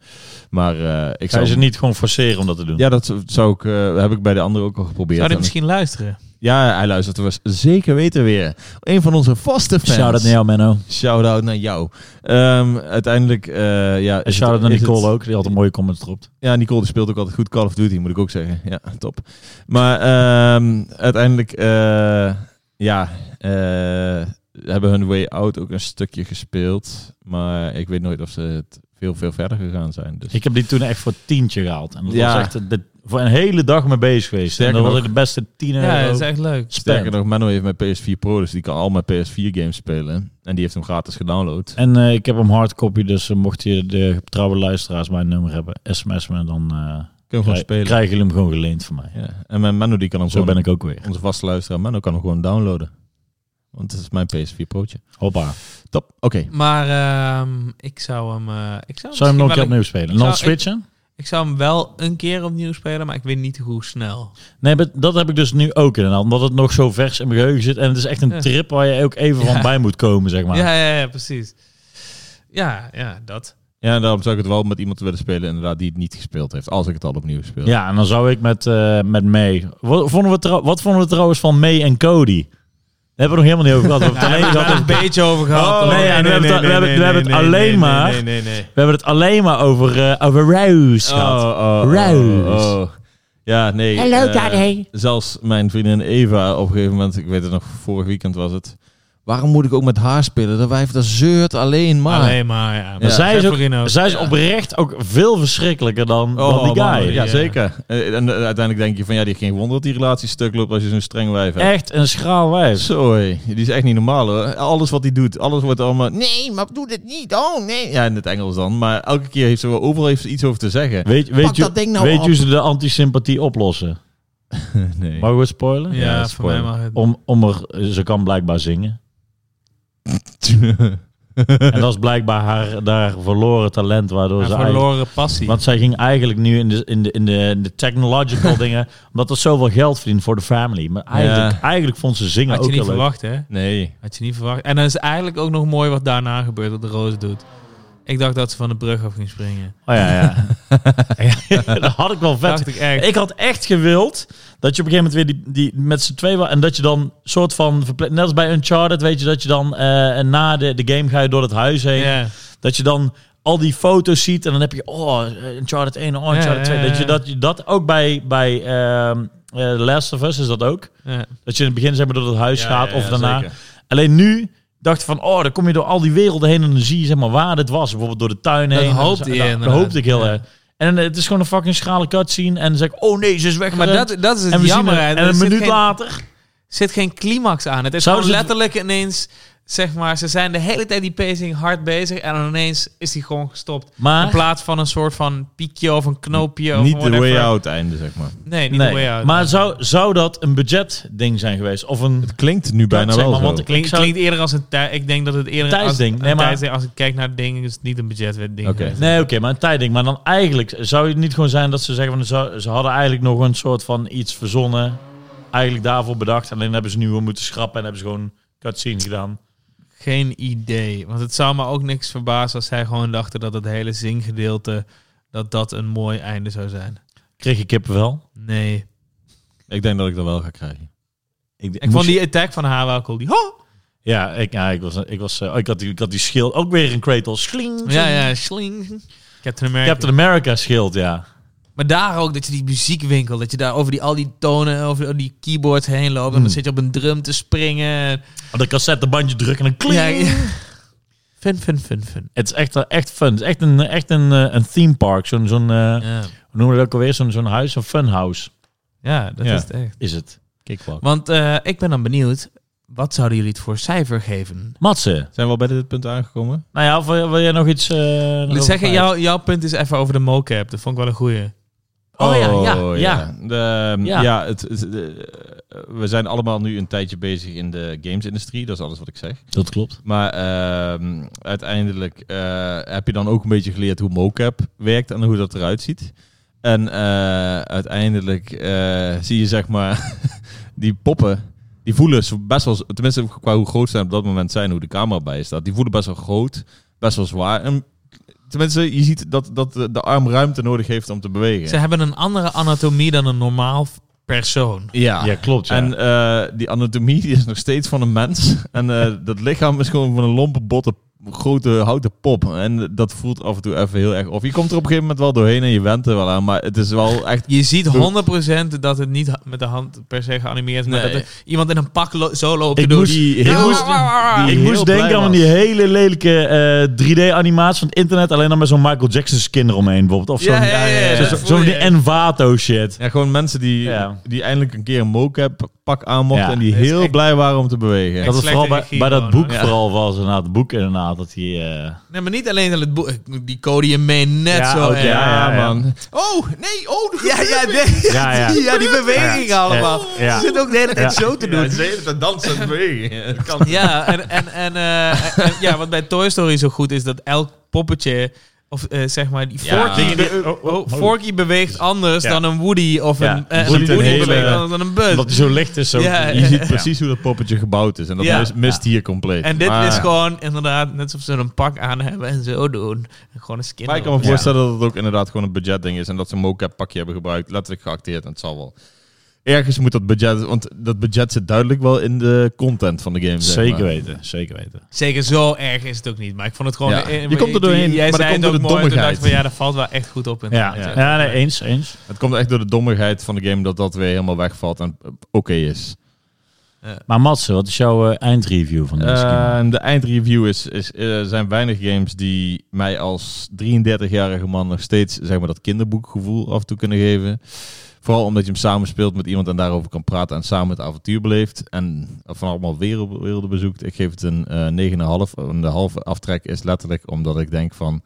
S2: Maar eh, ik
S1: zijn. Zou
S2: zou.
S1: je ze niet gewoon forceren om dat te doen?
S2: Ja, dat zou- zou ik, eh, heb ik bij de andere ook al geprobeerd.
S3: Zou je
S2: En-
S3: misschien luisteren?
S2: Ja, hij luistert er was zeker weten weer. Een van onze vaste fans.
S1: Shout-out naar jou, Menno.
S2: Shout-out naar jou. Ehm, uiteindelijk, eh, ja.
S1: En
S2: is
S1: shout-out
S2: het-
S1: naar
S2: is
S1: Nicole
S2: het-
S1: ook, die had een mooie comment erop.
S2: Ja, Nicole die speelt ook altijd goed Call of Duty, moet ik ook zeggen. Ja, top. Maar ehm, uiteindelijk, eh, ja, eh, hebben hun Way Out ook een stukje gespeeld. Maar ik weet nooit of ze het veel, veel verder gegaan zijn. Dus.
S1: Ik heb die toen echt voor tientje gehaald. En dat
S2: Ja.
S1: was echt de, voor een hele dag mee bezig geweest.
S2: Sterker
S1: en dat
S2: nog-
S1: was ook de beste 10 euro.
S3: Ja, dat is echt leuk.
S1: spend.
S2: Sterker nog, Menno heeft mijn PS4 Pro, dus die kan al mijn PS4 games spelen. En die heeft hem gratis gedownload.
S1: En eh, ik heb hem hardcopy, dus eh, mocht je de trouwe luisteraars mijn nummer hebben, sms me, dan eh,
S2: Kun je gewoon
S1: krij-
S2: spelen.
S1: krijgen jullie hem gewoon geleend van mij.
S2: Ja. En mijn Menno die kan hem
S1: Zo ben
S2: gewoon,
S1: ik ook weer.
S2: onze vaste luisteraar Menno kan hem gewoon downloaden. Want het is mijn PS4 Pro'tje.
S1: Hoppa.
S2: Top, oké.
S3: Maar ehm, ik zou hem... eh, ik zou,
S1: Zou je hem nog een keer
S3: misschien wel
S1: opnieuw spelen? En dan
S3: zou-
S1: switchen?
S3: een- Ik zou hem wel een keer opnieuw spelen, maar ik weet niet hoe snel.
S1: Nee, maar dat heb ik dus nu ook inderdaad. Omdat het nog zo vers in mijn geheugen zit. En het is echt een
S3: Ja.
S1: trip waar je ook even
S3: Ja.
S1: van bij moet komen, zeg maar.
S3: Ja, ja, ja, precies. Ja, ja, dat.
S2: Ja, daarom zou ik het wel met iemand willen spelen, inderdaad, die het niet gespeeld heeft. Als ik het al opnieuw speel.
S1: Ja, en dan zou ik met, eh met May. Wat vonden, we trouw- wat vonden we trouwens van May en Cody? Daar hebben we nog helemaal niet over gehad. We hebben het alleen
S3: Daar
S1: gehad over-
S3: hebben [LAUGHS] we het een beetje over
S1: Oh,
S3: gehad.
S1: nee, ja, en we hebben het- we hebben- we hebben het alleen maar-
S2: Nee, nee, nee.
S1: we hebben het alleen maar over, eh, over Rose
S2: Oh,
S1: gehad.
S2: oh, oh,
S1: Ruis.
S2: oh. Ja, nee.
S5: Hello,
S2: eh,
S5: daddy.
S2: Zelfs mijn vriendin Eva op een gegeven moment, ik weet het nog, vorig weekend was het. Waarom moet ik ook met haar spelen? Dat wijf dat zeurt alleen maar.
S3: Alleen maar, nou- ja.
S1: Maar zij is,
S3: Severino.
S1: ook, zij is oprecht ook veel verschrikkelijker dan, dan die
S2: Oh, man,
S1: guy.
S2: ja,
S3: Oh, Ja.
S2: zeker. Eh, En eh, uiteindelijk denk je van, ja, die heeft geen wonder dat die relatie stuk loopt als je zo'n streng wijf hebt.
S1: Echt een schraal wijs.
S2: Zo, hé. die is echt niet normaal hoor. Alles wat hij doet, alles wordt allemaal... Nee, maar doe dit niet. Oh, nee. Ja, in het Engels dan. Maar elke keer heeft ze wel overal heeft ze iets over te zeggen.
S1: Weet, weet,
S5: Pak
S1: je,
S5: dat ding nou
S1: weet
S5: op.
S1: je hoe ze de antisympathie oplossen?
S2: nee. [LAUGHS]
S1: Mag ik het spoilen?
S3: Ja,
S2: Ja,
S3: voor mij
S2: spoiler.
S3: mag het.
S1: Om, om er, ze kan blijkbaar
S3: [LAUGHS]
S1: zingen. En dat is blijkbaar haar, daar verloren talent, waardoor
S3: Een
S1: ze eigenlijk-
S3: verloren passie.
S1: Want zij ging eigenlijk nu in de, in de, in de, in de
S3: [LAUGHS]
S1: technological dingen, omdat dat zoveel geld verdient voor de family. Maar eigenlijk,
S2: Ja.
S1: eigenlijk vond ze zingen
S3: Had
S1: ook
S3: je niet
S1: heel leuk.
S3: verwacht, hè?
S2: nee.
S3: Had je niet verwacht. En dan is eigenlijk ook nog mooi wat daarna gebeurt, wat de Roos doet. Ik dacht dat ze van de brug af ging springen.
S1: Oh ja, ja.
S3: [LAUGHS]
S1: [LAUGHS] dat had ik wel vet.
S3: dacht ik echt.
S1: Ik had echt gewild dat je op een gegeven moment weer die, die met z'n twee was. En dat je dan soort van, verple- net als bij Uncharted, weet je, dat je dan eh, en na de, de game ga je door het huis heen.
S3: Ja.
S1: Dat je dan al die foto's ziet en dan heb je, oh, eh, Uncharted 1, oh, Uncharted
S3: ja,
S1: 2.
S3: ja,
S1: Dat je
S3: ja.
S1: dat, je dat ook bij, bij ehm, eh, The Last of Us is dat ook.
S3: Ja.
S1: Dat je in het begin zeg maar door het huis
S2: Ja,
S1: gaat
S2: ja,
S1: of
S2: ja,
S1: daarna.
S2: zeker.
S1: Alleen nu dacht ik van, oh, dan kom je door al die werelden heen en dan zie je zeg maar waar dit was. Bijvoorbeeld door de tuin
S3: Dat
S1: heen.
S3: hoopte
S1: en,
S3: je
S1: dat- Dat,
S3: inderdaad.
S1: hoopte ik heel
S3: Ja.
S1: erg. En eh, het is gewoon een fucking schrale cutscene. En dan zeg ik, oh nee, ze is weg.
S3: Maar dat, dat is het
S1: en we
S3: jammer.
S1: zien het.
S3: hè.
S1: En
S3: Er
S1: een
S3: zit
S1: minuut
S3: geen-
S1: later.
S3: zit geen climax aan. Het is
S1: Zouden
S3: gewoon
S1: ze-
S3: letterlijk ineens, zeg maar, ze zijn de hele tijd die pacing hard bezig en dan ineens is die gewoon gestopt. In
S1: Maar,
S3: plaats van een soort van piekje of een knoopje of
S2: Niet de
S3: whatever.
S2: way out einde, zeg maar.
S3: Nee, niet de
S1: nee.
S3: way out.
S1: maar zou, zou dat een budgetding zijn geweest? Of een...
S2: Het klinkt nu bijna
S1: zeg
S2: wel
S1: maar,
S2: zo.
S1: want ik-
S3: Klink,
S1: zou-
S3: klinkt eerder als een tijd. Ik denk dat het eerder als
S1: Tijdsding.
S3: een
S1: Nee, maar-
S3: tijdsding- als ik kijk naar het ding, is het niet een budgetding.
S2: Oké.
S3: geweest.
S1: Nee, oké, maar een tijdding. Maar dan eigenlijk zou het niet gewoon zijn dat ze zeggen van ze- ze hadden eigenlijk nog een soort van iets verzonnen, eigenlijk daarvoor bedacht. Alleen hebben ze nu weer moeten schrappen en hebben ze gewoon cutscene gedaan.
S3: Geen idee. Want het zou me ook niks verbazen als zij gewoon dachten dat het hele zinggedeelte dat dat een mooi einde zou zijn.
S1: Kreeg je kippenvel?
S3: Nee.
S2: Ik denk dat ik dat wel ga krijgen. Ik,
S3: Ik vond die attack van haar wel cool. Die ho!
S1: Ja, ik, ja, ik was, ik was, eh, oh, ik had die, ik had die schild ook weer een Kratos. Schling.
S3: Ja, ja, sling. Captain America.
S1: Captain America schild, ja.
S3: Maar daar ook, dat je die muziekwinkel, dat je daar over die, al die tonen, over die keyboards heen
S2: Hmm.
S3: loopt. En dan zit je op een drum te springen.
S1: Op de cassettebandje drukken en een kling.
S3: Ja, ja. Fun, fun, fun, fun.
S1: Het is echt, eh, echt fun. Het is echt een, echt een, eh, een theme park. Zo'n, zo'n eh,
S3: Ja,
S1: hoe noemen we dat ook alweer? Zo'n, zo'n huis, zo'n funhouse
S3: ja dat
S2: Ja.
S3: is het echt.
S1: is het.
S2: Kickball.
S3: Want eh, ik ben dan benieuwd, wat zouden jullie het voor cijfer geven?
S1: Matsen,
S2: Zijn we al bij dit punt aangekomen?
S1: nou ja, of wil, wil jij nog iets... eh,
S3: Laat
S1: erover
S3: zeggen,
S1: kwijt?
S3: jouw jouw punt is even over de mocap. Dat vond ik wel een goeie.
S1: Oh, ja, ja, ja.
S2: De, ehm,
S1: Ja.
S2: ja. het, het- de- we zijn allemaal nu een tijdje bezig in de gamesindustrie. Dat is alles wat ik zeg.
S1: Dat klopt.
S2: Maar ehm, uiteindelijk eh, heb je dan ook een beetje geleerd hoe mocap werkt en hoe dat eruit ziet. En eh, uiteindelijk eh, zie je zeg maar [LAUGHS] die poppen. Die voelen zo- best wel, tenminste qua hoe groot ze op dat moment zijn, hoe de camera bij je staat. Die voelen best wel groot, best wel zwaar. En tenminste, je ziet dat, dat de de arm ruimte nodig heeft om te bewegen.
S3: Ze hebben een andere anatomie dan een normaal persoon.
S1: Ja, klopt. Ja.
S2: En eh, die anatomie [LAUGHS] die is nog steeds van een mens. En eh, dat lichaam is gewoon van een lompe, botte, grote houten pop. En dat voelt af en toe even heel erg of. Je komt er op een gegeven moment wel doorheen en je went er wel aan. Maar het is
S3: [LAUGHS]
S2: wel echt...
S3: Je ziet 100% dat het niet ha- met de hand per se geanimeerd is, maar
S2: Nee.
S3: dat er iemand in een pak lo- zo loopt
S1: Ik
S3: te doen.
S1: moest-
S2: Die
S1: ik
S2: heel-
S1: moest-
S2: die
S3: Ah.
S1: ik
S2: heel
S1: moest
S2: blij
S1: denken aan
S2: was.
S1: die hele lelijke eh 3D-animatie van het internet. Alleen dan met zo'n Michael Jackson skin eromheen bijvoorbeeld. Of zo'n
S3: Ja, ja, ja, ja,
S1: zo-
S3: dat
S1: zo-
S3: voel
S1: zo'n
S3: je
S1: die
S3: echt.
S1: Envato shit.
S2: Ja, gewoon mensen die,
S1: Ja.
S2: die eindelijk een keer een mocap pak aan mochten.
S1: Ja.
S2: En die
S3: Dat is
S2: heel
S3: echt-
S2: blij waren om te
S1: Dat
S2: bewegen.
S1: het
S3: slechte
S1: vooral bij,
S3: regie
S1: bij dat
S3: gewoon,
S1: boek
S2: hoor.
S1: vooral was. Inderdaad, het boek inderdaad. Dat die, eh,
S3: Nee, maar niet alleen dat het boek. Die Cody en May net
S1: Ja,
S3: zo.
S1: ook,
S3: erg.
S1: ja, ja, ja.
S3: Oh, nee, oh. Ja, ja, nee.
S1: Ja,
S3: [LAUGHS]
S1: ja.
S3: Ah, ja, die bewegingen
S1: Ja,
S3: allemaal.
S1: ja, ja.
S3: Ze zitten ook de hele tijd
S1: Ja.
S3: zo te doen. Ja,
S2: dansen
S3: [LAUGHS]
S2: en bewegen.
S3: en, en, en, eh, en- ja, wat bij Toy Story zo goed is, dat elk poppetje, of eh, zeg maar, die
S2: Ja.
S3: Forky, be- oh, Forky beweegt anders
S1: Ja.
S3: dan een Woody of
S1: Ja.
S3: een, eh,
S1: Woody
S3: een Woody
S1: een hele-
S3: beweegt anders dan een Buzz.
S1: Omdat die zo licht is. Zo,
S3: Ja,
S2: Je ziet precies hoe dat poppetje gebouwd is. En dat
S3: Eh, Ja.
S2: mis- mist hier compleet.
S3: En dit
S2: Maar-
S3: is gewoon inderdaad net alsof ze een pak aan hebben en zo doen. En gewoon een skin.
S2: Maar ik kan me
S3: erop.
S2: voorstellen dat het ook inderdaad gewoon een budgetding is. En dat ze een mocap pakje hebben gebruikt. Letterlijk geacteerd. En het zal wel. Ergens moet dat budget... Want dat budget zit duidelijk wel in de content van de game. zeg
S1: Zeker
S2: maar.
S1: weten, zeker weten.
S3: Zeker zo erg is het ook niet. Maar ik vond het gewoon...
S2: Ja.
S3: eh,
S2: Je
S3: maar
S2: komt er doorheen,
S3: Jij
S2: maar dat
S3: zei
S2: komt
S3: het
S2: door
S3: ook
S2: de
S3: mooi. Toen dacht
S2: dommigheid.
S3: ik van ja, dat valt wel echt goed op.
S1: Ja,
S3: inderdaad,
S1: ja.
S3: ja.
S1: nee, eens, eens.
S2: Het komt echt door de dommigheid van de game dat dat weer helemaal wegvalt. En eh, oké is.
S1: Maar Matsen, wat is jouw eh, eindreview van deze game?
S2: Eh, en de eindreview is... is eh, zijn weinig games die mij als 33-jarige man nog steeds... Zeg maar dat kinderboekgevoel af en toe kunnen geven. Vooral omdat je hem samen speelt met iemand en daarover kan praten en samen het avontuur beleeft. En van allemaal wereld- werelden bezoekt. Ik geef het een eh 9,5. En de halve aftrek is letterlijk omdat ik denk van...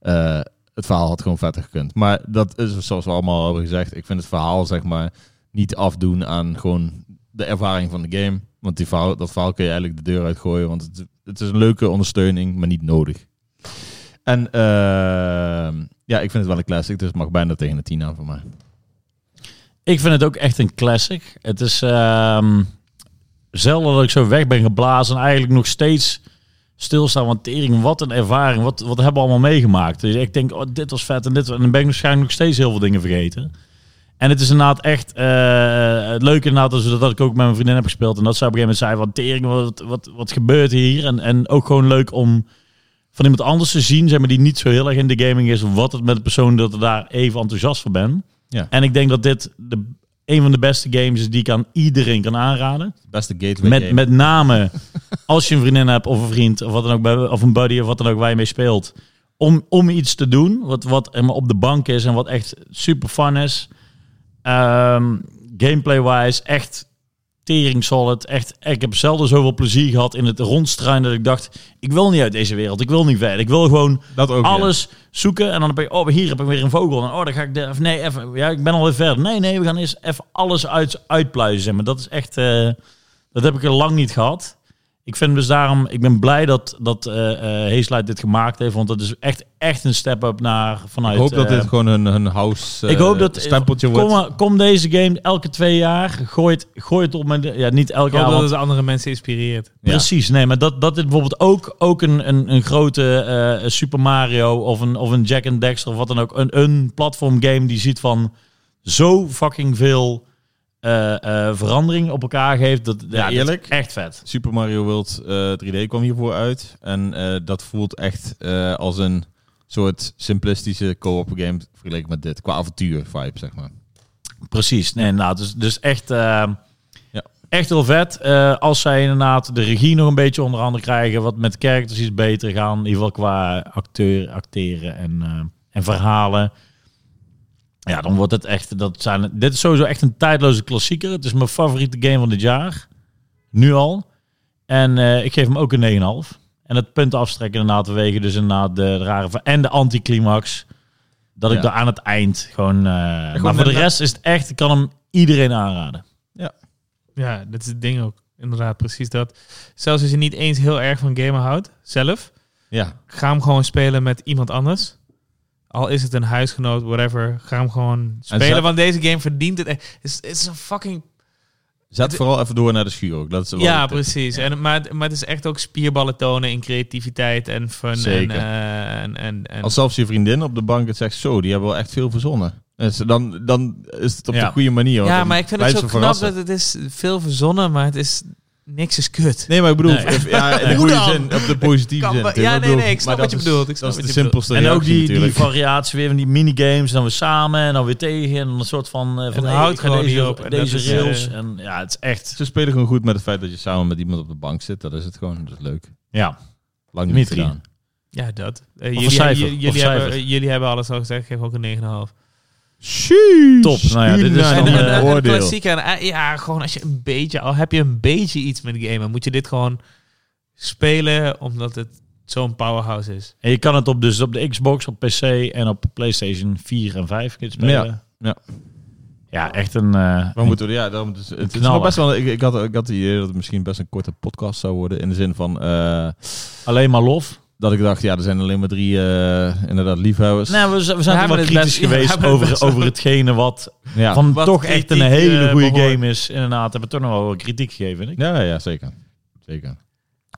S2: eh, het verhaal had gewoon vetter gekund. Maar dat is zoals we allemaal hebben gezegd. Ik vind het verhaal zeg maar niet afdoen aan gewoon de ervaring van de game. Want die verhaal, dat verhaal kun je eigenlijk de deur uitgooien. Want het, het is een leuke ondersteuning, maar niet nodig. En eh, ja, ik vind het wel een classic. Dus het mag bijna tegen de 10 aan voor mij.
S1: Ik vind het ook echt een classic. Het is ehm, zelden dat ik zo weg ben geblazen en eigenlijk nog steeds stilstaan. Want tering, wat een ervaring. Wat, wat hebben we allemaal meegemaakt? Dus ik denk, oh, dit was vet en dit. En dan ben ik waarschijnlijk nog steeds heel veel dingen vergeten. En het is inderdaad echt eh, het leuke inderdaad is dat ik ook met mijn vriendin heb gespeeld. En dat ze op een gegeven moment zei van tering, wat, wat, wat gebeurt hier? En, en ook gewoon leuk om van iemand anders te zien, zeg maar, die niet zo heel erg in de gaming is. Wat het met de persoon dat ik daar even enthousiast voor ben.
S2: Ja.
S1: En ik denk dat dit de een van de beste games is die ik aan iedereen kan aanraden.
S2: Beste gateway
S1: Met,
S2: game.
S1: met name als je een vriendin hebt of een vriend of, wat dan ook, bij- of een buddy of wat dan ook waar je mee speelt. Om, om iets te doen wat, wat helemaal op de bank is en wat echt super fun is. Ehm, Gameplay-wise echt tering solid. Echt, ik heb zelden zoveel plezier gehad in het rondstruinen dat ik dacht... Ik wil niet uit deze wereld, ik wil niet verder. Ik wil gewoon
S2: dat ook ja.
S1: alles zoeken. En dan heb je, oh, hier heb ik weer een vogel. En oh, dan ga ik de, of nee, even, ja, ik ben alweer verder. Nee, nee, we gaan eerst even alles uit, uitpluizen. zeg Maar dat is echt, eh, dat heb ik er lang niet gehad. Ik vind dus daarom, ik ben blij dat, dat eh eh, Hazelight dit gemaakt heeft. Want dat is echt, echt een step-up naar vanuit...
S2: Ik hoop dat
S1: eh,
S2: dit gewoon hun, hun house eh,
S1: ik hoop dat
S2: stempeltje
S1: kom,
S2: wordt.
S1: maar- kom deze game elke twee jaar. Gooi het, gooi het op mijn. Ja, niet elk
S3: Ik hoop
S1: jaar.
S3: dat
S1: want-
S3: het andere mensen inspireert.
S2: Ja.
S1: Precies, nee, maar dat, dat dit bijvoorbeeld ook, ook een, een, een grote eh, Super Mario of een, of een Jack and Dexter of wat dan ook, een, een platform game die ziet van zo fucking veel eh, eh, verandering op elkaar geeft. Dat, ja, dat is
S2: eerlijk.
S1: echt vet.
S2: Super Mario World eh, 3D kwam hiervoor uit. En eh, dat voelt echt eh, als een soort simplistische co-op game vergeleken met dit. Qua avontuur vibe, zeg maar.
S1: Precies, nee, nou, dus, dus echt, eh,
S2: Ja.
S1: echt heel vet. Eh, als zij inderdaad de regie nog een beetje onder handen krijgen, wat met characters iets beter gaan, in ieder geval qua acteur, acteren en, eh, en verhalen. Ja, dan wordt het echt, dat zijn, dit is sowieso echt een tijdloze klassieker. Het is mijn favoriete game van dit jaar, nu al. En eh, ik geef hem ook een 9,5. En het punt aftrekken inderdaad wegen, dus inderdaad de, rare... ver- En de anticlimax. Dat ik
S2: Ja.
S1: daar aan het eind gewoon... eh, maar
S3: gewoon
S1: voor de
S3: net-
S1: rest is het echt... Ik kan hem iedereen aanraden.
S3: Ja, dat is het ding ook. Inderdaad, precies dat. Zelfs als je niet eens heel erg van gamen houdt, zelf,
S2: Ja,
S3: ga hem gewoon spelen met iemand anders. Al is het een huisgenoot, whatever, ga hem gewoon
S2: zo-
S3: spelen. Want deze game verdient het echt. Het is, het is een fucking...
S2: zet vooral even door naar de schuur ook. Dat is wel
S3: Ja,
S2: een tip.
S3: precies. En, maar, het- maar het is echt ook spierballen tonen in creativiteit en fun.
S2: Zeker.
S3: En, eh, en, en, en-
S2: Als zelfs je vriendin op de bank het zegt, zo, die hebben wel echt veel verzonnen. Dus dan, dan is het op
S1: Ja.
S2: de goede manier. want
S3: ja,
S2: dan
S3: maar ik vind het
S2: blijft ze
S3: zo knap
S2: verrassen.
S3: dat het is veel verzonnen, maar het is... Niks is kut.
S2: Nee, maar ik bedoel,
S1: Nee.
S2: if- ja, in
S3: [LAUGHS]
S2: de
S3: Hoe
S2: goede
S3: dan?
S2: zin, op de positieve
S3: Kan
S2: zin.
S3: wel-
S2: Tim.
S3: ja, nee,
S2: bedoel,
S3: nee, ik snap
S2: maar dat
S3: wat je
S2: is-
S3: bedoelt, ik snap
S2: Dat is de
S3: wat je bedoelt.
S2: simpelste
S1: en ook
S2: reactie
S1: die, die
S2: natuurlijk.
S1: variatie weer van die minigames. Dan weer samen en dan weer tegen. En dan een soort van... eh, van
S3: dan
S1: hey,
S3: houdt
S1: ik ga
S3: gewoon
S1: deze,
S3: hierop. En
S1: Deze
S3: dat is, eh,
S1: rails. en ja, het is echt...
S2: Ze spelen gewoon goed met het feit dat je samen met iemand op de bank zit. Dat is het gewoon. Dat is leuk.
S1: Ja,
S2: Lang niet
S1: Dimitri.
S2: gedaan.
S3: Ja, dat. Eh,
S1: een
S3: jullie,
S1: cijfer,
S3: jullie-
S1: of
S3: jullie
S1: cijfer.
S3: hebben, eh, jullie hebben alles al gezegd. Ik geef ook een 9,5.
S1: top. Nou ja, dit is
S2: Unaniem
S1: dan...
S3: En,
S2: een,
S3: en,
S1: eh,
S3: en,
S2: oordeel.
S3: en klassiek en, eh, ja, gewoon als je een beetje, al heb je een beetje iets met gamen, moet je dit gewoon spelen omdat het zo'n powerhouse is.
S1: en je kan het op, dus op de Xbox, op PC en op PlayStation 4 en 5 kun je het spelen.
S2: Ja, ja.
S1: Ja, echt een... eh,
S2: Maar moeten we, ja, daarom, dus, het is
S1: knaller.
S2: nog best wel, ik, ik, had, ik had het idee dat het misschien best een korte podcast zou worden. In de zin van eh,
S1: alleen maar lof.
S2: dat ik dacht, ja, er zijn alleen maar drie eh, inderdaad liefhebbers.
S1: Nee, we, z- we zijn
S3: We
S1: toch
S3: hebben
S1: wel
S3: het
S1: kritisch
S3: best- ja, we
S1: geweest
S3: hebben het
S1: over,
S3: best wel-
S1: over hetgene wat
S2: ja.
S1: van
S3: Wat
S1: toch echt een
S3: kritiek,
S1: hele
S3: eh,
S1: goede
S3: behoort.
S1: game is. Inderdaad, hebben we toch nog wel wat kritiek gegeven. vind ik.
S2: ja, ja, zeker. Zeker.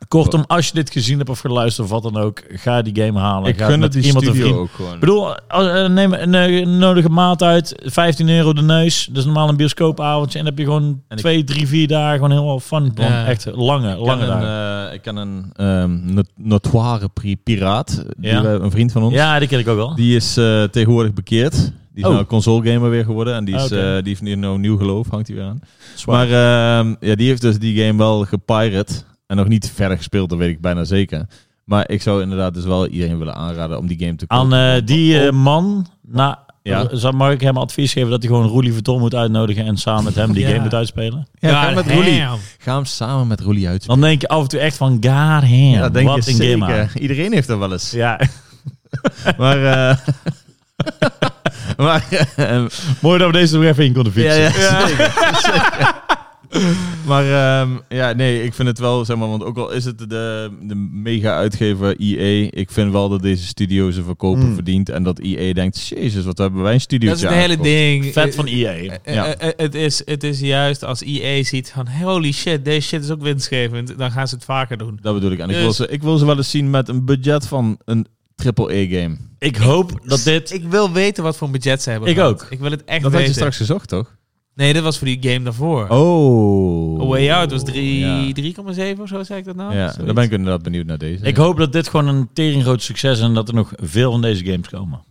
S1: Kortom, als je dit gezien hebt of geluisterd of wat dan ook, ga die game halen.
S2: Ik
S1: ga
S2: gun
S1: met
S2: het die
S1: iemand een
S2: studio
S1: vriend.
S2: ook gewoon.
S1: Ik bedoel, als- eh, neem een eh, nodige maat uit, 15 euro de neus. Dat is normaal een bioscoopavondje. En dan heb je gewoon
S2: En ik-
S1: twee, drie, vier dagen gewoon heel wel fun. van.
S3: Ja.
S1: Echt lange,
S2: Ik ken
S1: lange dagen.
S2: een, eh, ik ken een ehm, not- notoire pri- piraat, eh, die
S1: Ja.
S2: we- een vriend van ons.
S1: ja, die ken ik ook wel.
S2: Die is eh, tegenwoordig bekeerd. Die is
S1: Oh.
S2: nou console gamer weer geworden. En die, is,
S1: Ah, oké.
S2: eh, die heeft nu nou nieuw geloof, hangt hij weer aan.
S1: Zwaar.
S2: Maar ehm, ja, die heeft dus die game wel gepirate. En nog niet verder gespeeld, dat weet ik bijna zeker. Maar ik zou inderdaad dus wel iedereen willen aanraden om die game te
S1: Aan
S2: kopen.
S1: eh, die eh, man, nou,
S2: Ja.
S1: zou mag ik hem advies geven dat hij gewoon Roelie Vuitton moet uitnodigen en samen met
S2: [LAUGHS]
S1: hem die
S3: Ja.
S1: game moet uitspelen?
S2: Ja, ga met
S3: damn.
S2: Roelie. Ga hem samen met Roelie uitspelen.
S1: Dan denk je af en toe echt van, god damn,
S2: Ja, dat denk
S1: wat
S2: je
S1: een
S2: zeker.
S1: game. man.
S2: Iedereen heeft dat wel eens.
S1: Ja, [LAUGHS]
S2: Maar, eh, maar eh,
S1: mooi dat we deze nog even in konden fietsen.
S2: Ja, ja. maar ehm, ja, nee, ik vind het wel, zeg maar, want ook al is het de, de mega-uitgever EA, ik vind wel dat deze studio ze verkopen
S1: Mm.
S2: verdient en dat EA denkt, jezus, wat hebben wij een studio
S3: Dat is het hele ding.
S1: Vet van E
S3: Eh,
S1: EA.
S3: eh,
S2: Ja.
S3: eh, eh, Het is, het is juist als EA ziet van holy shit, deze shit is ook winstgevend, dan gaan ze het vaker doen.
S2: Dat bedoel ik. En ik,
S3: Dus-
S2: wil ze, ik wil ze wel eens zien met een budget van een triple-A-game.
S1: Ik hoop dat dit...
S3: Ik wil weten wat voor een budget ze hebben.
S1: Ik
S3: gehad.
S1: ook.
S3: Ik wil het echt
S2: Dat had je
S3: weten.
S2: straks gezocht, toch?
S3: Nee, dit was voor die game daarvoor.
S2: Oh.
S3: A Way Out was drie-
S2: Ja,
S3: 3,7 of zo, zei ik dat nou?
S2: Ja,
S3: Zoiets.
S2: dan ben ik inderdaad benieuwd naar deze.
S1: Ik hoop dat dit gewoon een tering groot succes is en dat er nog veel van deze games komen.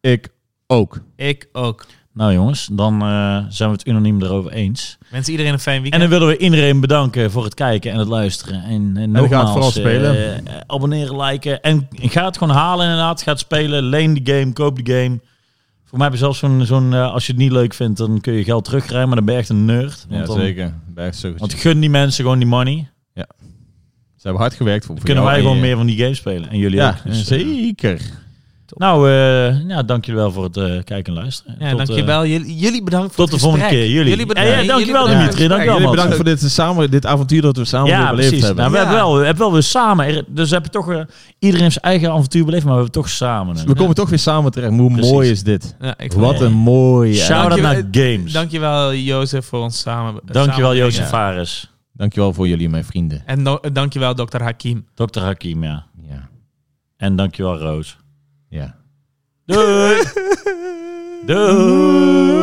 S2: Ik ook.
S3: Ik ook.
S1: Nou jongens, dan eh, zijn we het unaniem erover eens.
S3: Mensen, iedereen een fijn
S1: En
S3: weekend.
S1: dan willen we iedereen bedanken voor het kijken en het luisteren. En, en, nogmaals,
S2: ga het vooral
S1: eh,
S2: spelen.
S1: eh, abonneren, liken. En ga het gewoon halen inderdaad. Ga het spelen. Leen die game. Koop die game. Voor mij heb je zelfs zo'n... zo'n eh, als je het niet leuk vindt, dan kun je geld terugkrijgen. Maar dan ben je echt een nerd. Want
S2: Ja,
S1: dan-
S2: zeker. Bij zo
S1: Want gun die mensen gewoon die money. Dan
S2: Ze hebben hard gewerkt voor. voor
S1: kunnen
S2: jou
S1: wij gewoon
S2: en je-
S1: meer van die games spelen. En jullie ook.
S2: Ja,
S1: Dus, eh,
S2: zeker.
S1: Nou, eh ja, dank jullie wel voor het eh, kijken en luisteren.
S3: Ja,
S1: Tot, eh,
S3: dankjewel. Jullie, jullie bedankt voor
S1: tot de
S3: het
S1: volgende
S3: gesprek.
S1: keer. Jullie. Eh,
S3: bedankt.
S1: Ja, ja, dankjewel,
S3: Jullie bedankt
S1: Dimitri.
S3: voor het
S1: Dankjewel,
S2: Jullie
S1: man.
S2: bedankt voor dit, eh, samen, dit avontuur dat we samen weer beleefd hebben.
S1: Nou, we,
S3: Ja.
S1: hebben wel, we hebben wel weer samen. er- Dus we hebben toch, eh, iedereen heeft zijn eigen avontuur beleefd, maar we hebben toch samen.
S2: we komen toch weer samen terecht. Hoe
S1: Precies.
S2: mooi is dit?
S3: Ja, ik
S2: Wat een mooie.
S1: Shout out
S3: Dankjewel.
S1: naar games.
S3: Dankjewel Jozef voor ons samen.
S1: Dankjewel,
S3: samen-
S1: Jozef
S2: ja.
S1: Fares.
S2: Dankjewel voor jullie, mijn vrienden.
S3: En no- dankjewel dokter Hakim.
S1: [LAUGHS] Dr. Hakim, ja.
S2: Ja.
S1: En dankjewel, Roos.
S2: ja.
S1: Doei! Doei!